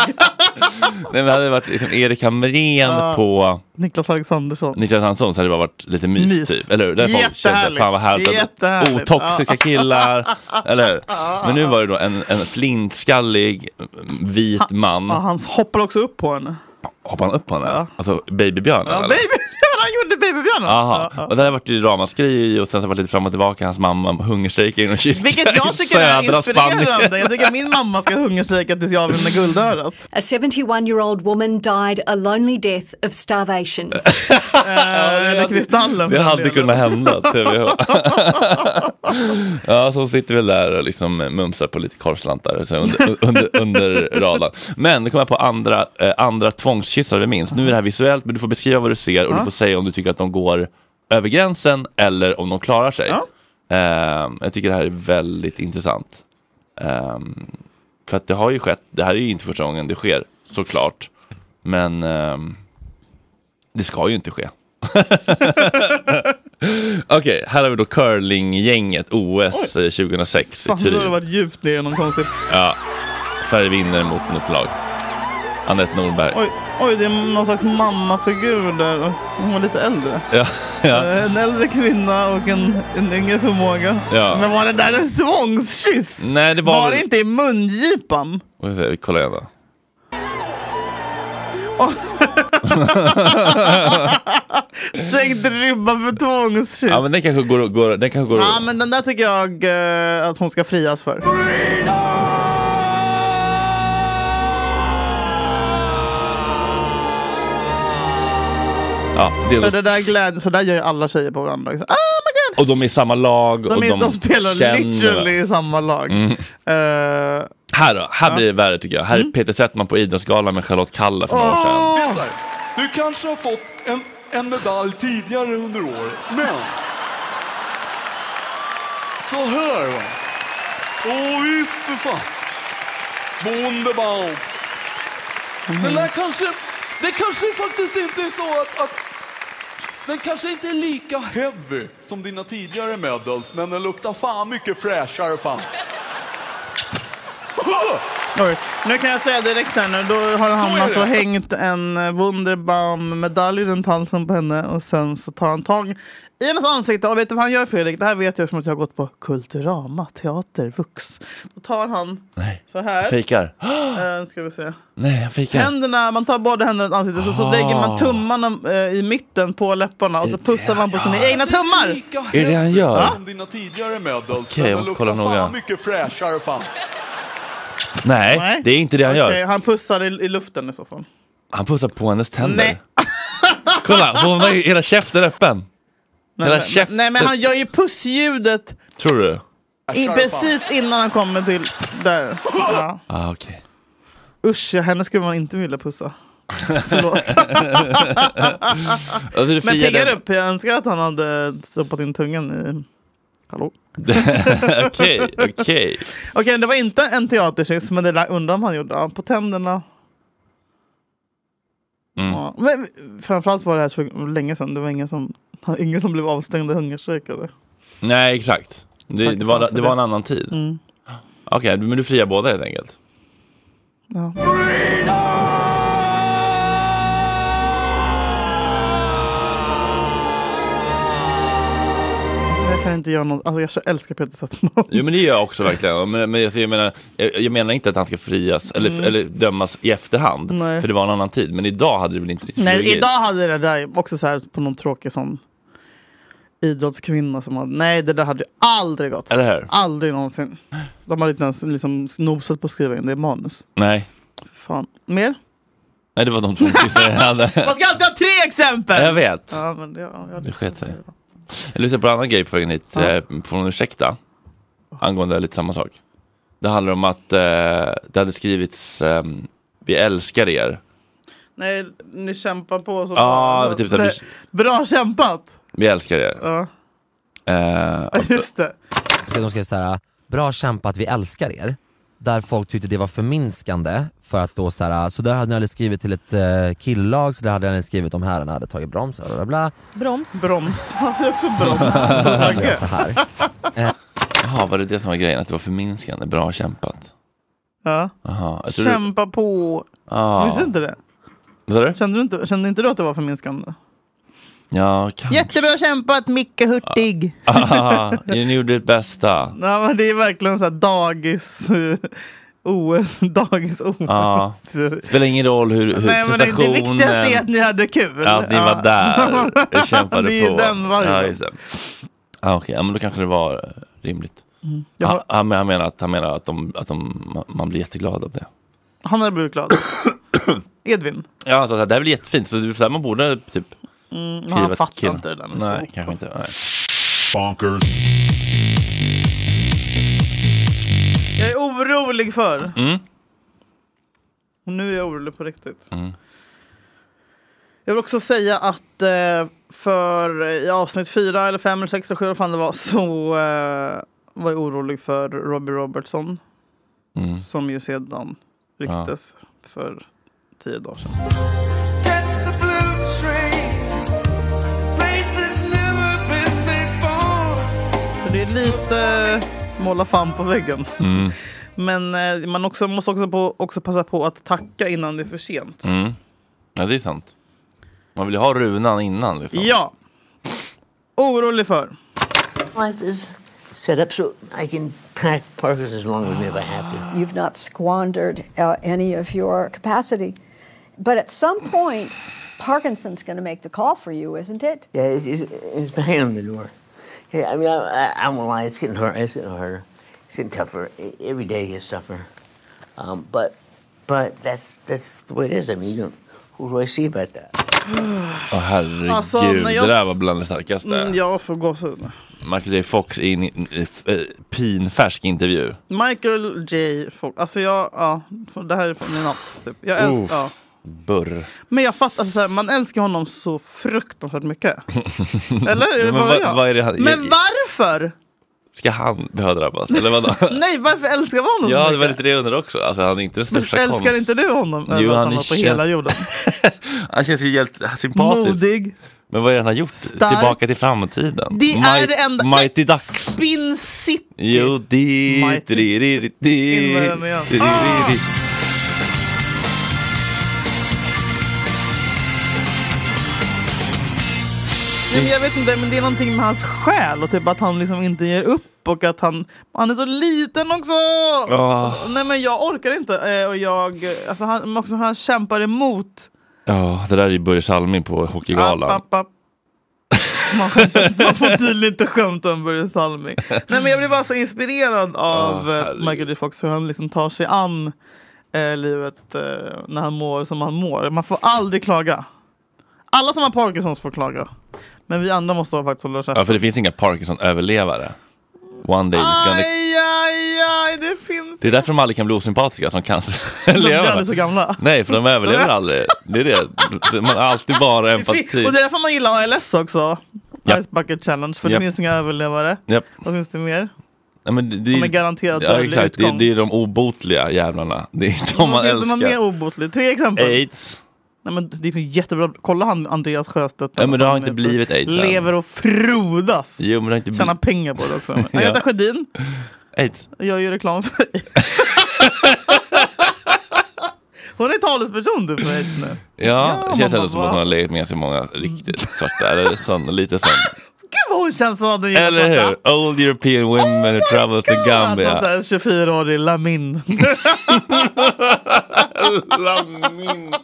Nej men hade det varit liksom Erik Hamrén
Ja.
på
Niklas Alexandersson.
Niklas Hansson så hade det bara varit lite mys,
Mys.
typ. Eller hur? Där folk kände
Jättehärligt.
fan vad härligt. att-
Jättehärligt.
Otoxiska
Ja.
killar. Eller hur? Men nu var det då en, en flintskallig mm, vit man.
Ja, han hoppar också upp på henne.
Hoppade han upp på henne? Alltså babybjörnen?
Ja,
eller?
baby. han gjorde Babybjörnen?
Aha. Och det har varit ju ramaskri och sen så var det lite fram och tillbaka. Hans mamma hungerstrejkar inom kyrkan
Vilket jag
i
tycker är
södra Spanien.
inspirerande. Jag tycker min mamma ska hungerstrejka tills jag vinner guldörat.
A 71 year old woman died a lonely death of starvation.
Eller kristallen.
Det hade kunnat hända, TVH. ja, så hon sitter väl där och liksom mumsar på lite korvslantar så under, under, under radarn. Men det kommer jag på andra, eh, andra tvångskyssar vi minns. Nu är det här visuellt, men du får beskriva vad du ser och du
Ja.
får säga om du tycker att de går över gränsen eller om de klarar sig. Eh, jag tycker det här är väldigt intressant. Eh, för att det har ju skett, det här är ju inte första gången det sker, såklart. Men ehm, det ska ju inte ske. Okej, här har vi då curlinggänget OS eh, 2006
Fan,
i
nu har det
Turin.
varit djupt ner i någon konstig...
Ja, Sverige vinner mot något lag. Anette Norberg.
Oj, oj, det är någon slags mammafigur där. Hon var lite äldre.
Ja, ja.
Eh, En äldre kvinna och en, en yngre förmåga.
Ja.
Men var det där en svångskyss?
Nej, det var
Var
väl-
det inte i mungipan?
Får vi se, Vi kollar igen då.
Sänkt ribba för tvångskyss.
Ja, men den kanske går, går, den kanske går
Ja, men den där tycker jag eh, att hon ska frias för.
Ja, det är
För
då-
det där glädje, så där gör ju alla tjejer på varandra. Liksom. Ah,
Och de är i samma lag.
de,
och
är, de, spelar
känner
literally i samma lag. Eh,
Mm. här då, här blir det värre tycker jag. Här
Mm.
är Peter Settman på Idrottsgalan med Charlotte Kalla för några år sedan.
Besar, Du kanske har fått en, en medalj tidigare under året, men... Så här va. Åh visst för fan. Bondebaum.
Mm.
Men där kanske, det kanske faktiskt inte är så att, att den kanske inte är lika heavy som dina tidigare medals, men den luktar fan mycket fräschare fan.
Oj, nu kan jag säga direkt här nu, då har han
är det.
alltså hängt en eh, Wunderbaum-medalj runt halsen på henne och sen så tar han tag i hennes ansikte och vet du vad han gör Fredrik? Det här vet jag som att jag har gått på Kulturama Teater Vux. Då tar han så här.
Fejkar.
Eh, nu ska vi se.
Nej, han fejkar.
Händerna, man tar båda händerna runt ansiktet och så
Ah.
lägger man tummarna eh, i mitten på läpparna och så pussar man på sina egna tummar.
Är det det han gör?
Som dina tidigare medals,
Okej,
men
jag
den
måste kolla
luktar
noga.
fan mycket fräschare fan.
Nej, det är inte det han
Okej,
gör.
han pussar i, i luften i så fall.
Han pussar på hennes tänder.
Nej.
Kolla, hon har ju hela käften öppen.
Nej,
hela
men-
käften.
nej men han gör ju pussljudet
Tror du?
I, precis innan han kommer till där. Ja.
Ah, okej.
Usch, ja, henne skulle man inte vilja pussa. Förlåt.
Alltså, det
Men
friade-
piggar upp. Jag önskar att han hade stoppat in tungan i... Hallå?
Okej, okej.
Okej, det var inte en teaterkyss, men det där undrar om han gjorde. Ja, på tänderna.
Mm.
Ja. Men framförallt var det här så länge sedan. Det var ingen som, ingen som blev avstängd och hungerstrejkade.
Nej, exakt. Det,
Tack
det, var,
fan för
det var en
det.
annan tid.
Mm.
Okej, men du friar båda helt enkelt.
Ja. Jag kan inte göra något. Alltså jag så älskar Peter Settman.
Jo men det gör jag också verkligen. Men, men jag, jag, menar, jag, jag menar inte att han ska frias eller,
Mm.
eller dömas i efterhand.
Nej.
För det var en annan tid. Men idag hade det väl inte riktigt
Nej,
flugit?
idag hade det där också så här på någon tråkig sån idrottskvinna som hade, nej det där hade ju aldrig gått.
Eller hur?
Aldrig någonsin. De hade inte ens liksom nosat på att skriva in det i manus.
Nej.
Fan. Mer?
Nej, det var de två kyssar jag hade.
Man ska alltid ha tre exempel!
Jag vet.
Ja, men det, ja, jag-
Det sket sig. Jag lyssnade på en annan grej på vägen hit. Ja. Får hon ursäkta? Angående lite samma sak. Det handlar om att eh, det hade skrivits eh, Vi älskar er.
Nej, ni kämpar på så
Ja, men typ så här,
Nej, Bra kämpat!
Vi älskar er.
Ja,
Eh, och-
just det.
Så De skrev så här, bra kämpat vi älskar er. Där folk tyckte det var förminskande för att då så här, så där hade ni aldrig skrivit till ett eh, killag, så där hade ni skrivit om herrarna hade tagit broms, bla bla bla.
Broms. Broms. Han säger också broms.
Det blev så här.
Jaha, var det det som var grejen? Att det var förminskande? Bra kämpat.
Ja.
Jaha, jag tror du...
Kämpa på.
Ja.
Visste du inte det?
Vad sa du?
Kände, du inte, kände inte du att det var förminskande?
Ja, kan...
Jättebra kämpat Micke Hurtig!
Ah, ni gjorde ert bästa.
Ja, men det är verkligen så här dagis... eh, OS, dagens OS.
Ja. Det spelar ingen roll hur, hur
Nej, men det, det
prestationen...
viktigaste är att ni hade kul.
Ja, att ni var där och kämpade
Det Ah. är
på.
den vargen.
Ja, just det. Ah, Okej, ja, men då kanske det var eh, rimligt.
Mm. Jag
Han,
har-
han, men- han menar att, han menar att, de, att de, man blir jätteglad av det.
Han hade blivit glad. Edvin.
Ja, alltså, det här är väl jättefint. Så det är så här, man borde typ
Mm, men
skriva
han
till
fattar
killen.
inte det där med
Nej,
fotboll.
kanske inte. Nej.
Jag är orolig för.
Mm.
Och nu är jag orolig på riktigt.
Mm.
Jag vill också säga att eh, för eh, i avsnitt fyra eller fem eller sex eller sju vad fan det var så eh, var jag orolig för Robbie Robertson.
Mm.
Som ju sedan ryktes för tio dagar sedan.
Catch the blue train. Places never been before.
Så det är lite måla fan på väggen.
Mm.
Men eh, man också, måste också, på, också passa på att tacka innan det är för sent.
Mm. Ja, det är sant. Man vill ju ha runan innan. Liksom.
Ja. Orolig för.
Life is set up so I can pack parkas as long as if I have to.
You've not squandered uh, any of your capacity. But at some point, Parkinson's going to make the call for you, isn't it?
Yeah, it's, it's, it's banging on the door. Yeah, I mean, I, I, I won't lie, it's getting harder. It's getting harder. It's getting tougher. E- every day gets tougher. Um, but, but that's that's the way it is. I mean, you don't, what do I see about that?
Åh herregud,
Alltså, när jag-
det där var bland det starkaste.
Mm, jag får gåshud.
Michael J Fox i en eh, f- eh, pinfärsk intervju.
Michael J. Fox. Alltså jag, ja, det här är från min natt. Typ. Jag älskar,
Uff.
ja.
Burr.
Men jag fattar, alltså, så här, man älskar honom så fruktansvärt mycket. Eller är det
Men
bara
vad-
jag?
vad är det han-
Men varför?
Ska han behöva drabbas? Eller vadå?
Nej, varför älskar man honom
ja,
så
det
mycket?
var lite det jag undrar också. Alltså, han är inte den största
Älskar
konst-
inte du honom?
Jo,
över att
han
han
är
var på
känd-
hela jorden.
Han känns ju helt sympatisk.
Modig.
Men vad är det han har gjort? Tillbaka till framtiden.
Det är
Might-
det enda-
Mighty Ducks.
Spin City.
Jo, di,
Mighty-
di, di, di, di,
In med den igen.
di, di,
Ah!
di.
Nej, men jag vet inte, men det är någonting med hans själ och typ att han liksom inte ger upp och att han, han är så liten också!
Ah.
Nej men jag orkar inte eh, och jag, alltså han, men också han kämpar emot.
Ja, det där är ju Börje Salming på Hockeygalan.
App, app, app. Man, man får tydligen inte skämta om Börje Salming. Nej men jag blev bara så inspirerad av
Ah,
eh,
herregud.
Michael J Fox hur han liksom tar sig an eh, livet eh, när han mår som han mår. Man får aldrig klaga. Alla som har Parkinsons får klaga. Men vi andra måste faktiskt hålla käften.
Ja, för det finns inga Parkinson-överlevare. One day it's gonna...
Aj, aj, aj, det finns...
Det är därför de aldrig kan bli osympatiska som
De blir aldrig
canceröverlevare.
så gamla.
Nej, för de överlever
De är-
aldrig. Det är det. Man har alltid bara empati.
Och det är därför man gillar ALS också.
typ. Ja.
Ice Bucket Challenge, för
Ja.
det finns inga överlevare.
Japp.
Vad finns det mer?
Ja, men det, det,
De är garanterat
ja,
dödlig
exakt. Det,
utgång.
det är de obotliga jävlarna. Det är de man
Vad finns det man mer
älskar.
obotligt? Tre exempel.
Aids.
Nej, men det är ju jättebra. Kolla han Andreas Sjöstedt.
Ja, men det har
Han
inte
är-
blivit aids än.
Lever och frodas.
Jo, men det har inte
Tjänar
blivit...
pengar på det också.
Ja.
Agneta Sjödin.
Aids.
Jag gör reklam för dig. Hon är talesperson du för aids nu.
Ja, det känns
man
ändå som
bara,
att hon har
va?
legat med sig många riktigt svarta. Eller sån, lite sån.
Gud vad hon känns som att hon gillar
Eller
svarta. Oh
hur? Old European women who travel to
Att hon
Gambia.
såhär 24 år i Lamin.
Lamin.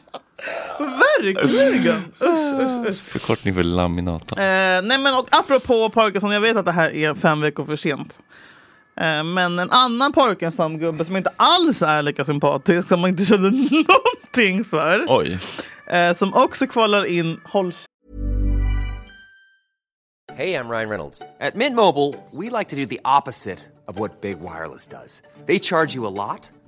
Verkligen! Usch, usch, usch.
Förkortning för laminata.
Eh, nej men och apropå Parkinson, jag vet att det här är fem veckor för sent. Eh, men en annan Parkinson-gubbe som inte alls är lika sympatisk, som man inte känner någonting för.
Oj.
Eh, som också kvalar in, håll
Hey, I'm Ryan Reynolds. At Mint Mobile, we like to do the opposite of what Big Wireless does. They charge you a lot,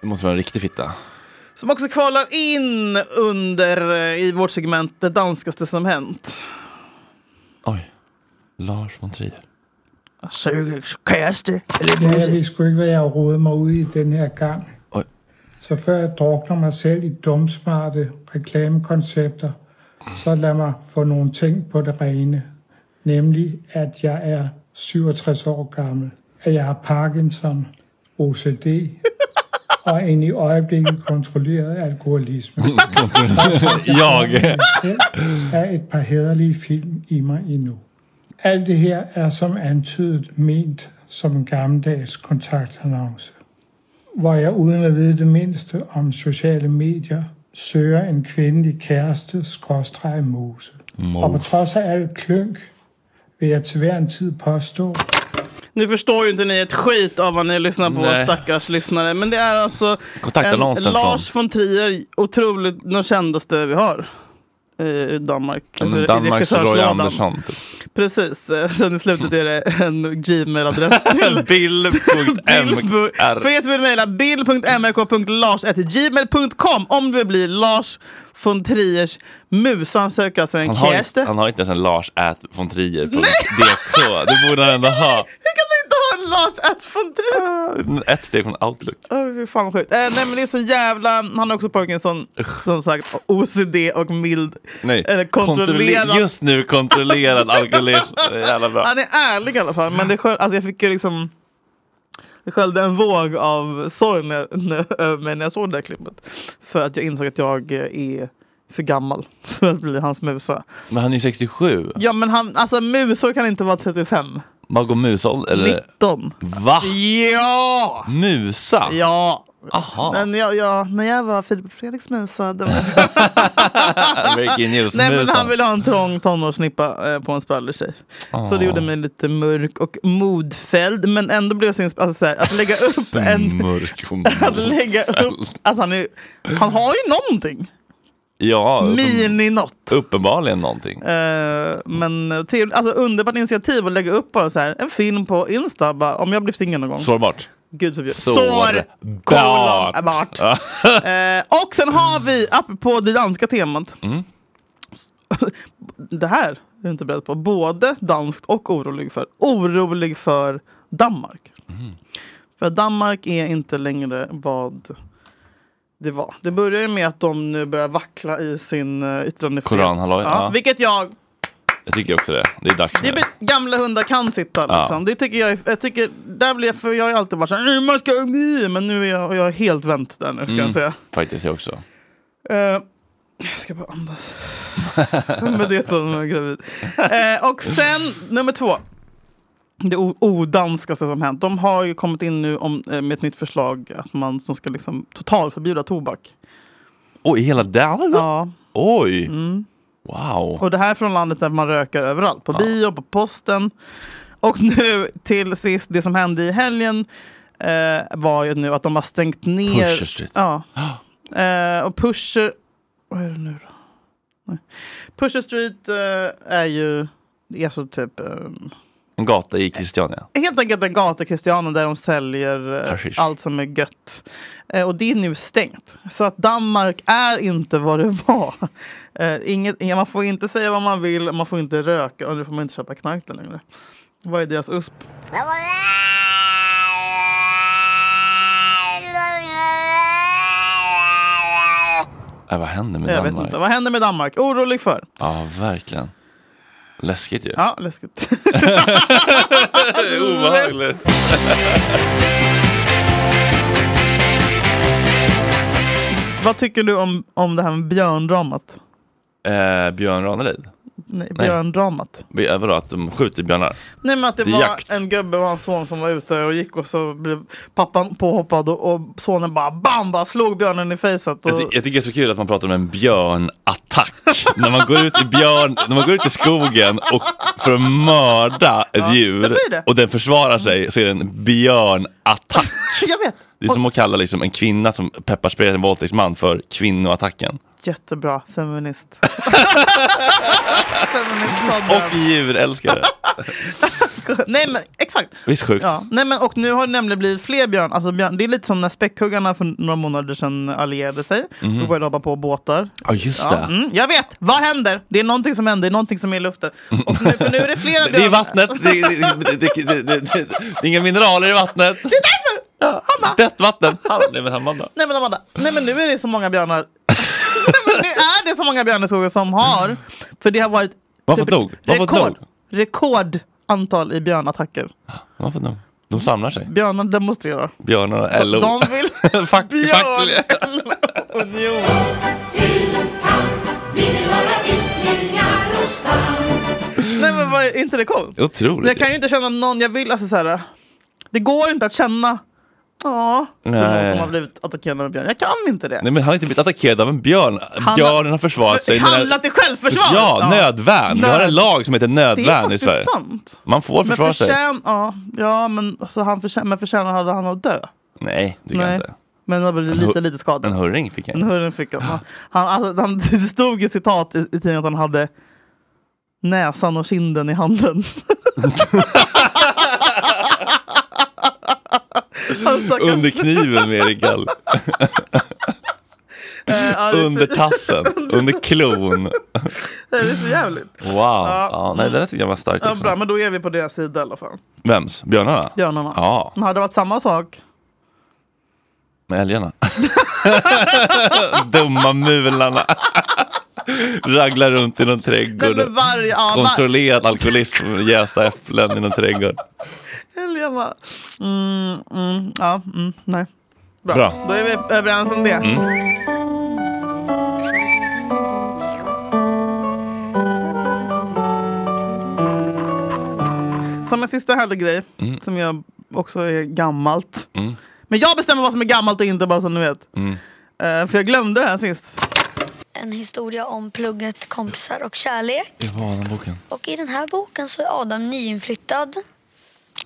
Det måste vara en riktig fitta.
Som också kvalar in under eh, i vårt segment Det danskaste som hänt.
Lars von Trier.
Suger kæreste.
Ja, jeg ved sgu ikke, hvad jeg rodede mig ud i den her gang.
Oj.
Så før jeg drukner mig selv i dumsmarte reklamekoncepter, så lad mig få nogle ting på det rene. Nemlig, at jeg er 67 år gammel, at jeg har Parkinson, OCD og en i øjeblikket kontrolleret alkoholisme.
Jag.
er et par hederlige film i mig endnu. Alt det her er som antydet ment som en gammeldags kontaktannonce, hvor jeg uden at vide det mindste om sociale medier, søger en kvindelig kæreste, skråstreg mose. Og på trods af alt klønk, vil jeg til hver en tid påstå,
Nu förstår ju inte ni ett skit av vad ni lyssnar på,
Nej.
stackars lyssnare. Men det är alltså en
Kontaktannonsen från-
Lars von Trier, otroligt den kändaste vi har i Danmark.
Ja, men
Eller i
Danmarks Roy
regissörslådan.
Andersson. typ.
Precis, eh, sen i slutet är det en gmail-adress till
Bill.mr.
För er som vill mejla bill.mrk.lars.gmail.com om du vill bli Lars von Triers mus. Han söker alltså en
Han har,
kärste.
inte, han har inte ens en Lars at von Trier på DK. Det borde han ändå ha.
Hur kan du inte ha en Lars att von Trier?
Ett steg från Outlook.
Åh, fy fan vad sjukt. Eh, nej men det är så jävla, han har också Parkinson, som sagt OCD och mild,
Nej,
eller kontrollerad.
kontrolle- just nu kontrollerad alkoholism. Det är Jävla bra.
Han är ärlig i alla fall, men det sköl, alltså jag fick ju liksom det sköljde en våg av sorg när, när, över mig när jag såg det där klippet. För att jag insåg att jag eh, är för gammal för att bli hans musa.
Men han är ju 67.
Ja men han, alltså musor kan inte vara 35.
Vad går musåldern? Eller?
19.
Va?
Ja!
Musa?
Ja.
Aha.
Men jag, jag, när jag var Filip och Fredriks musa, det var
Breaking news.
Nej, men han
musan.
ville ha en trång tonårsnippa eh, på en sprallig tjej. Så
Ah.
det gjorde mig lite mörk och modfälld. Men ändå blev jag så insp- alltså, så här, att lägga upp
Mm.
en...
Mörk och
Att lägga upp, alltså han, är, han har ju någonting.
Ja, alltså- uppen-
Mini-något.
uppenbarligen någonting.
Eh, men eh, trevligt, alltså underbart initiativ att lägga upp bara så här, en film på Insta. Bara, om jag blir singel någon gång.
Sårbart.
Gud förbjude.
Sårbart.
kolon, bart. Eh, och sen har vi, apropå det danska temat.
Mm.
Det här är jag inte beredd på. Både danskt och orolig för. Orolig för Danmark.
Mm.
För Danmark är inte längre vad det var. Det börjar ju med att de nu börjar vackla i sin eh, yttrandefrihet.
Koranhalloj, ja.
Vilket jag
Jag tycker också det. Det är dags
det
nu.
är be- gamla hundar kan sitta.
Ja.
Liksom. Det tycker jag, är- jag tycker, där blir jag, för jag har ju alltid varit såhär, man ska, nej", men nu är jag, jag är helt vänt där nu ska jag
Mm,
säga.
Faktiskt jag också.
Eh, jag ska bara andas. Med det som jag är gravid. Eh, och sen nummer två. Det o- odanskaste som hänt. De har ju kommit in nu om, eh, med ett nytt förslag att man som ska liksom totalförbjuda tobak.
Oj, hela den?
Ja.
Oj!
Mm.
Wow.
Och det här är från landet där man röker överallt. På bio, på posten. Och nu till sist, det som hände i helgen eh, var ju nu att de har stängt ner...
Pusher Street.
Ja. Eh, och Pusher... Vad är det nu då? Nej. Pusher Street eh, är ju... Det är så typ... ehm,
En gata i Christiania.
helt enkelt en gata i Christiania där de säljer eh,
Hashish.
allt som är gött. Eh, och det är nu stängt. Så att Danmark är inte vad det var. Eh, inget, ja, man får inte säga vad man vill, man får inte röka och nu får man inte köpa knark där längre. Vad är deras USP?
Äh, vad händer med
Jag vet
Danmark?
inte. Vad händer med Danmark? Orolig för?
Ja, verkligen. Läskigt ju.
Ja, läskigt.
Obehagligt.
Vad tycker du om, om det här med björndramat?
Eh, Björn Ranelid?
Nej, björndramat.
Nej. Vadå, att de skjuter björnar?
Nej men att det,
Det är
var
jakt.
en gubbe och hans son som var ute och gick och så blev pappan påhoppad och, och sonen bara bam, bara slog björnen i facet.
Jag, ty-
Och,
jag tycker det är så kul att man pratar om en björnattack. när, man går ut i björn, när man går ut i skogen och för att mörda ett djur
jag säger det.
och den försvarar sig så är det en björnattack.
jag vet,
Det är som att kalla liksom en kvinna som pepparsprayar en våldtäktsman för kvinnoattacken.
jättebra feminist. Feministpodden.
Och djurälskare.
Nej men exakt.
Visst sjukt?
Ja. Nej, men, och nu har det nämligen blivit fler björn. Alltså, björn. Det är lite som när späckhuggarna för några månader sedan allierade sig.
Mhm.
Då började de hoppa på båtar.
Ja, just
Ja,
det.
mm, jag vet, vad händer? Det är någonting som händer, det är någonting som är i luften.
Mm.
Och nu, för nu är det flera björn.
Det är vattnet. Det är, det, det, det, det, det, det är inga mineraler i vattnet. Det är
därför!
Hanna! Dött vatten. Han, nej, men Amanda.
Nej men Amanda, nej men nu är det så många björnar. Nej, men nu är det så många björneskogar som har. För det har varit typ
Varför dog? Varför
rekord,
dog?
rekordantal i björnattacker.
Varför de? De samlar sig.
Björnar demonstrerar.
Björnarna, LO.
De vill...
Fuck,
Björn!
fuck.
Union. Nej men vad, är inte det coolt?
Otroligt.
Jag kan ju inte känna någon jag vill, alltså så här, Det går inte att känna, ja, för någon
Nej.
som har blivit attackerad av en björn. Jag kan inte det.
Nej men han har inte blivit attackerad av en björn.
har-
Björnen har försvarat sig. med-
Handlat i självförsvar!
Ja, nödvärn. Vi har
Nöd-
en lag som heter
Det är
nödvärn i
faktiskt
Sverige.
sant.
Man får
men
försvara sig.
förtjän- ja, ja, men, alltså, han förtjän- men förtjänar hade han att dö.
Nej, det tycker jag
Nej.
inte.
Men han blev
En hu-
lite, lite skadad.
En hurring fick
En
han.
hurren fick han. Han, alltså, han, det stod ju citat i, i tidningen att han hade näsan och kinden i handen. han stackars-
Under kniven med Erik Gall.
Eh, ja, det är för-
Under tassen. Under klon.
Det är för jävligt.
Wow. Ja, nej, det där tycker jag var starkt
Ja, bra,
också.
men då är vi på deras sida i alla fall.
Vems? Björnarna?
Björnarna.
Ja,
Men hade det varit samma sak?
med älgarna. Dumma mularna. Raglar runt i någon trädgård.
men varje- ja, var-
Kontrollerad alkoholism. Jästa äpplen i någon trädgård.
Helena. Mm, mm, ja, mm, nej. Bra.
Bra.
Då är vi överens om det.
Mm.
Som en sista härlig grej,
Mm.
som jag också är gammalt. Men jag bestämmer vad som är gammalt och inte, bara så ni vet.
Mm.
Eh, för jag glömde det här sist.
En historia om plugget, kompisar och kärlek.
I Vanaboken.
Och i den här boken så är Adam nyinflyttad.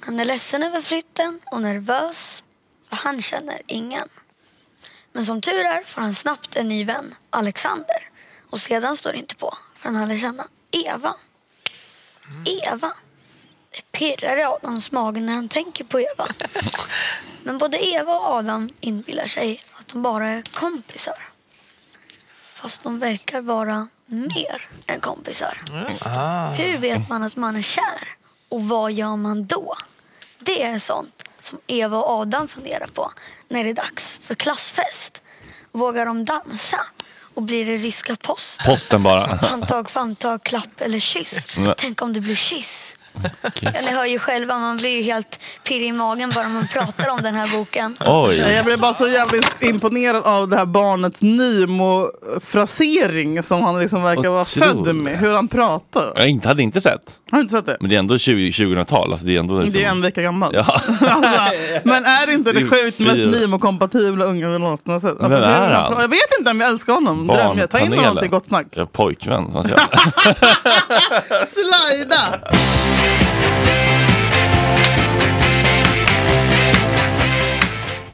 Han är ledsen över flytten och nervös, för han känner ingen. Men som tur är får han snabbt en ny vän, Alexander. Och sedan står det inte på, förrän han lär känna Eva. Eva. Det pirrar i Adams mage när han tänker på Eva. Men både Eva och Adam inbillar sig att de bara är kompisar. Fast de verkar vara mer än kompisar. Hur vet man att man är kär? Och vad gör man då? Det är sånt som Eva och Adam funderar på när det är dags för klassfest. Vågar de dansa? Och blir det ryska posten?
Posten bara.
Handtag, famntag, klapp eller kyss?
Nej.
Tänk om det blir kyss? Ja, ni hör ju själva, man blir ju helt pirrig i magen bara man pratar om den här boken.
Oj.
Eh, Jag blev bara så jävligt imponerad av det här barnets nymofrasering som han liksom verkar vara
Otroligt.
född med. Hur han pratar.
Jag inte, hade inte sett.
Har du inte sett det?
Men det är ändå 20 2000-tal. Alltså det är ändå
Det är
liksom-
en vecka gammal.
Ja.
Alltså, men är det inte
Det
det
är
sjukt mest
fyra.
nymokompatibla unga vi någonsin har sett? Alltså,
Men vem
hur
är han?
Jag vet inte, men jag älskar honom. Dröm, jag. Ta in honom till Gott Snack.
Ja, pojkvän. som man säger.
Slajda!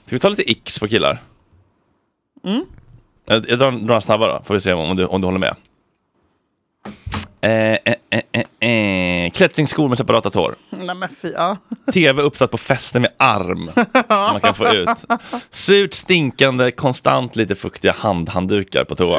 Ska vi ta lite x på killar?
Mm.
Jag, jag drar några snabba då, får vi se om du, om du håller med. Eh, eh, eh, eh, eh. Klättringsskor med separata tår.
Nej men fy, ja.
TV uppsatt på fästen med arm som man kan få ut. Surt, stinkande, konstant lite fuktiga handhanddukar på toa.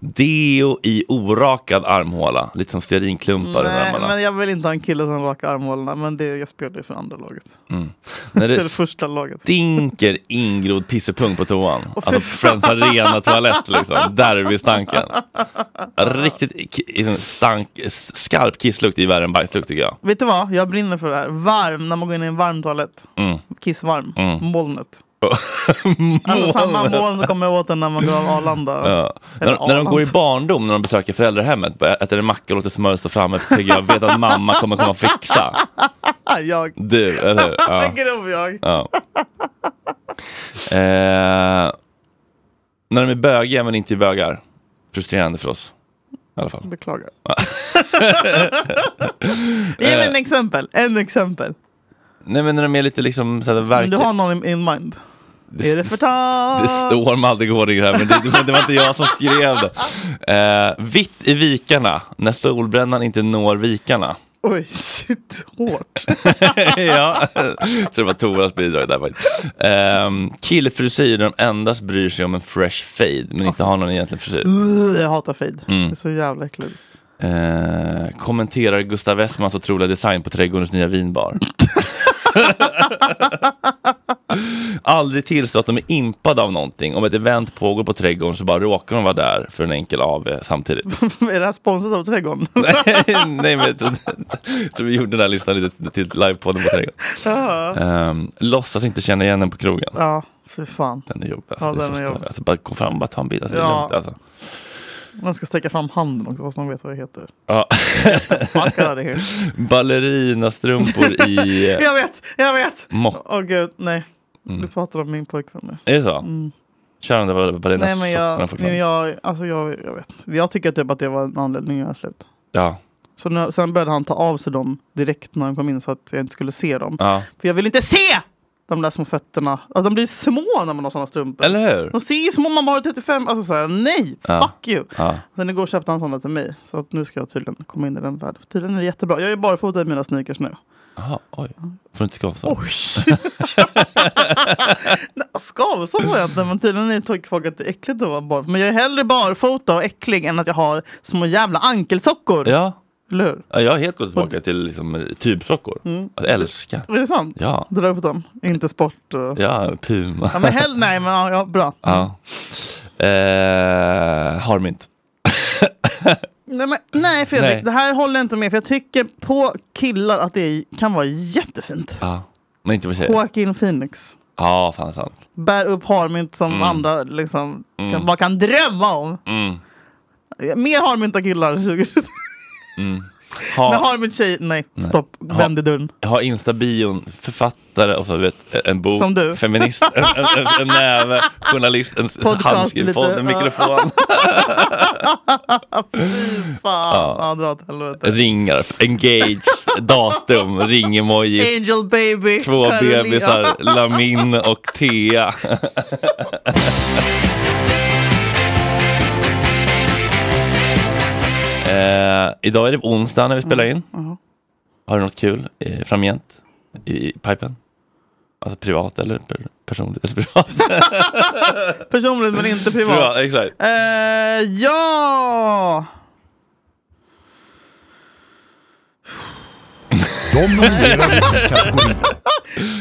Deo i orakad armhåla, lite som stearinklumpar under
Nej,
armarna.
men jag vill inte ha en kille som rakar armhålorna, men det, jag spelar ju för andra laget.
Mm. När
Det är
det
det första laget.
stinker ingrodd pissepung på toan. Alltså Friends Arena toalett liksom. Derbystanken. Riktigt k- stank, skarp kisslukt är värre än bajslukt tycker jag.
Vet du vad? Jag brinner för det här. Varm, när man går in i en varm toalett.
Mm.
Kissvarm.
Mm.
Molnet. Alltså, samma moln som kommer åt en när man går av Arlanda.
Ja. När,
Eller
när de går i
Arlanda.
barndom, när de besöker föräldrahemmet, börjar äter en macka och låter smöret stå framme, för jag vet att mamma kommer komma och fixa.
jag.
Du, eller hur? Ja.
Grov jag.
Ja. Eh, när de är bögiga men inte är bögar. Frustrerande för oss. I alla fall.
Beklagar. Ge mig
eh,
en exempel. En exempel.
nej men när de är lite liksom såhär
Men du
verkligen.
har någon in mind. är det förtal?
Det står Madde Gårding här men det, men det var inte jag som skrev det. Eh, vitt i vikarna, när solbrännan inte når vikarna.
Oj, shit. Hårt.
ja, så det var Toras bidrag där faktiskt. Um, killfrisyr, där de endast bryr sig om en fresh fade men inte har någon egentlig frisyr.
Uh, Jag hatar fade.
Mm.
Det är så jävla äckligt.
Eh, kommenterar Gustav Westmans otroliga design på trädgårdens nya vinbar. Aldrig tillstå att de är impade av någonting. Om ett event pågår på trädgården så bara råkar de vara där för en enkel AV samtidigt.
är det här sponsrat av Trädgården?
Nej, men jag trodde, jag tror vi gjorde den här listan lite till livepodden på trädgården.
Ja.
Um, låtsas inte känna igen den på krogen.
Ja, för fan.
Den är jobbig. Alltså,
Ja,
det är
den
så
är
större.
jobbig.
Alltså, bara gå fram och bara ta en bild. Alltså, det är
Ja.
lugnt, alltså.
De ska sträcka fram handen också, så de vet vad jag heter.
Ja.
Fuck out of here.
Ballerinastrumpor i...
jag vet, jag vet!
Mock.
Åh gud, nej. Du
Mm.
pratar om min pojkvän nu.
Är det så?
Mm.
Kör de där
Nej men jag,
ballerinastrumporna
nej, men
fortfarande?
jag, alltså jag, jag vet. Jag tycker typ att det var en anledning att göra slut.
Ja.
Så när, sen började han ta av sig dem direkt när han kom in så att jag inte skulle se dem.
ja.
För jag vill inte se de där små fötterna. Alltså de blir små när man har sådana strumpor.
Eller hur?
De ser ju små man bara är 35. Alltså såhär, nej,
Ja.
fuck you.
Ja.
Sen igår köpte han sådana till mig. Så att nu ska jag tydligen komma in i den världen. Tydligen är det jättebra. Jag är barfota i mina sneakers nu.
Jaha, oj. Får du inte skavsår?
Oj! Nej, Skavsår har jag inte, men tydligen tycker folk att det är äckligt att vara barfota. Men jag är hellre barfota och äcklig än att jag har små jävla ankelsockor.
Ja.
Eller hur?
Ja, jag har helt gått tillbaka till liksom, tubsockor.
Mm.
Alltså, älskar.
Är det sant?
Ja.
Dra upp dem. Inte sport. Och...
Ja, Puma.
Ja, men hell, nej, men ja, ja, bra.
ja. Eh, har de inte.
Nej, men, nej Fredrik,
Nej.
det här håller jag inte med. För jag tycker på killar att det är- kan vara jättefint.
Ja. Men inte på tjejer.
Joaquin Phoenix.
Ja, fan sant.
Bär upp harmynt som
Mm.
andra liksom,
Mm.
kan, bara kan drömma om.
Mm.
Mer harmynta killar 2023.
Mm.
Men
Ha,
harmynt tjej, nej.
Nej.
Stopp,
Ha-
vänd i dörren.
ha instabion, författare och så vet, en bok,
Som du.
feminist, en, en, en, en näve, journalist, en
Podcast
handskriven
lite,
podd, en
ja.
mikrofon.
Fan,
Ja.
ja. dra åt helvete.
Ringar, engage, datum, ring-emoji,
Angel baby.
två
Carolina.
bebisar, Lamin och Thea. eh, idag är det onsdag när vi spelar in.
Mhm.
Har du något kul eh, framgent i pipen? Alltså privat eller per- personligt? Eller privat?
Personligt men inte privat.
privat exakt.
Eh, ja!
De nominerade i kategorin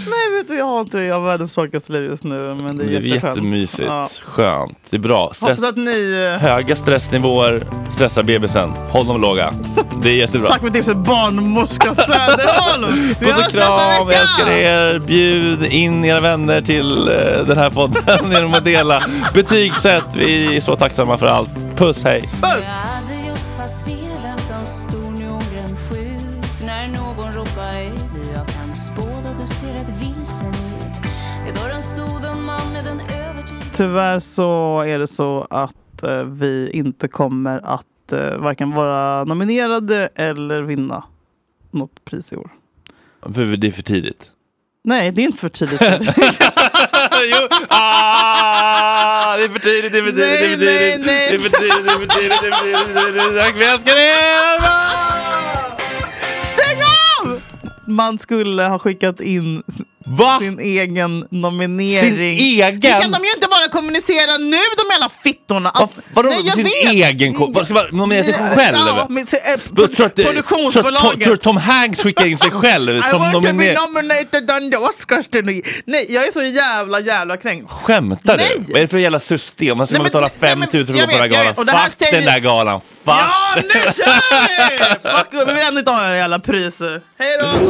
Nej vet du, jag har inte jag har världens tråkigaste liv just nu. Men det är,
Det är
jätteskönt.
jättemysigt.
Ja.
Skönt. Det är bra. Stress,
Hoppas att ni... eh,
höga stressnivåer stressar bebisen. Håll dem låga. Det är jättebra.
Tack för tipset barnmorska Söderholm! Vi
Puss
hörs
och
nästa
kram,
vecka!
jag älskar er. Bjud in era vänner till eh, den här podden genom att dela. Betygsätt, vi är så tacksamma för allt. Puss, hej.
Jag hade just passerat en stor neongrön skylt när någon ropade ut. Jag kan spåda, du ser rätt vilsen ut. I dörren stod en man med en övertygad
Tyvärr så är det så att eh, vi inte kommer att eh, varken vara nominerade eller vinna något pris i år.
För Det är för tidigt.
Nej, det är inte för tidigt.
jo, ah, det är för tidigt, det är för tidigt, det är för
Nej,
tidigt.
nej,
Det är för tidigt, det är för tidigt, det är för tidigt, det är för tidigt. Tack, vi älskar er!
Stäng av! Man skulle ha skickat in s- sin egen nominering.
Sin egen?
Det kan de ju inte bara kommunicera nu, de jävla fittorna! Att-
Vadå,
Nej, jag
sin
vet.
egen ko- Vad Ska man nominera sig själv?
Ja, men, se, eh,
Tror du att, det- tror att Tom-
produktionsbolaget!
tror att Tom Hanks skickar in sig själv
I
som
want to be
nominerad?
nominated on the Oscars today. Nej, jag är så jävla jävla kränkt.
Skämtar
Nej!
du? Vad är det för jävla system? Man ska
Nej, men-
betala
nej,
5 000
men
för att gå på den här
jag vet, jag
galan.
vet. Och det här
Fuck
säger-
den där galan! Fuck!
Ja, nu kör vi! Fuck, vi vill ändå inte ha några jävla priser. Hej då!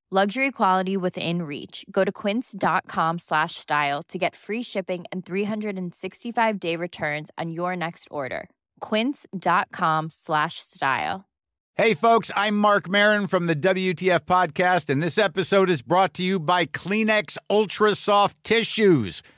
Luxury quality within reach. Go to quince.com slash style to get free shipping and 365 day returns on your next order. Quince.com slash style.
Hey, folks, I'm Mark Marin from the WTF Podcast, and this episode is brought to you by Kleenex Ultra Soft Tissues,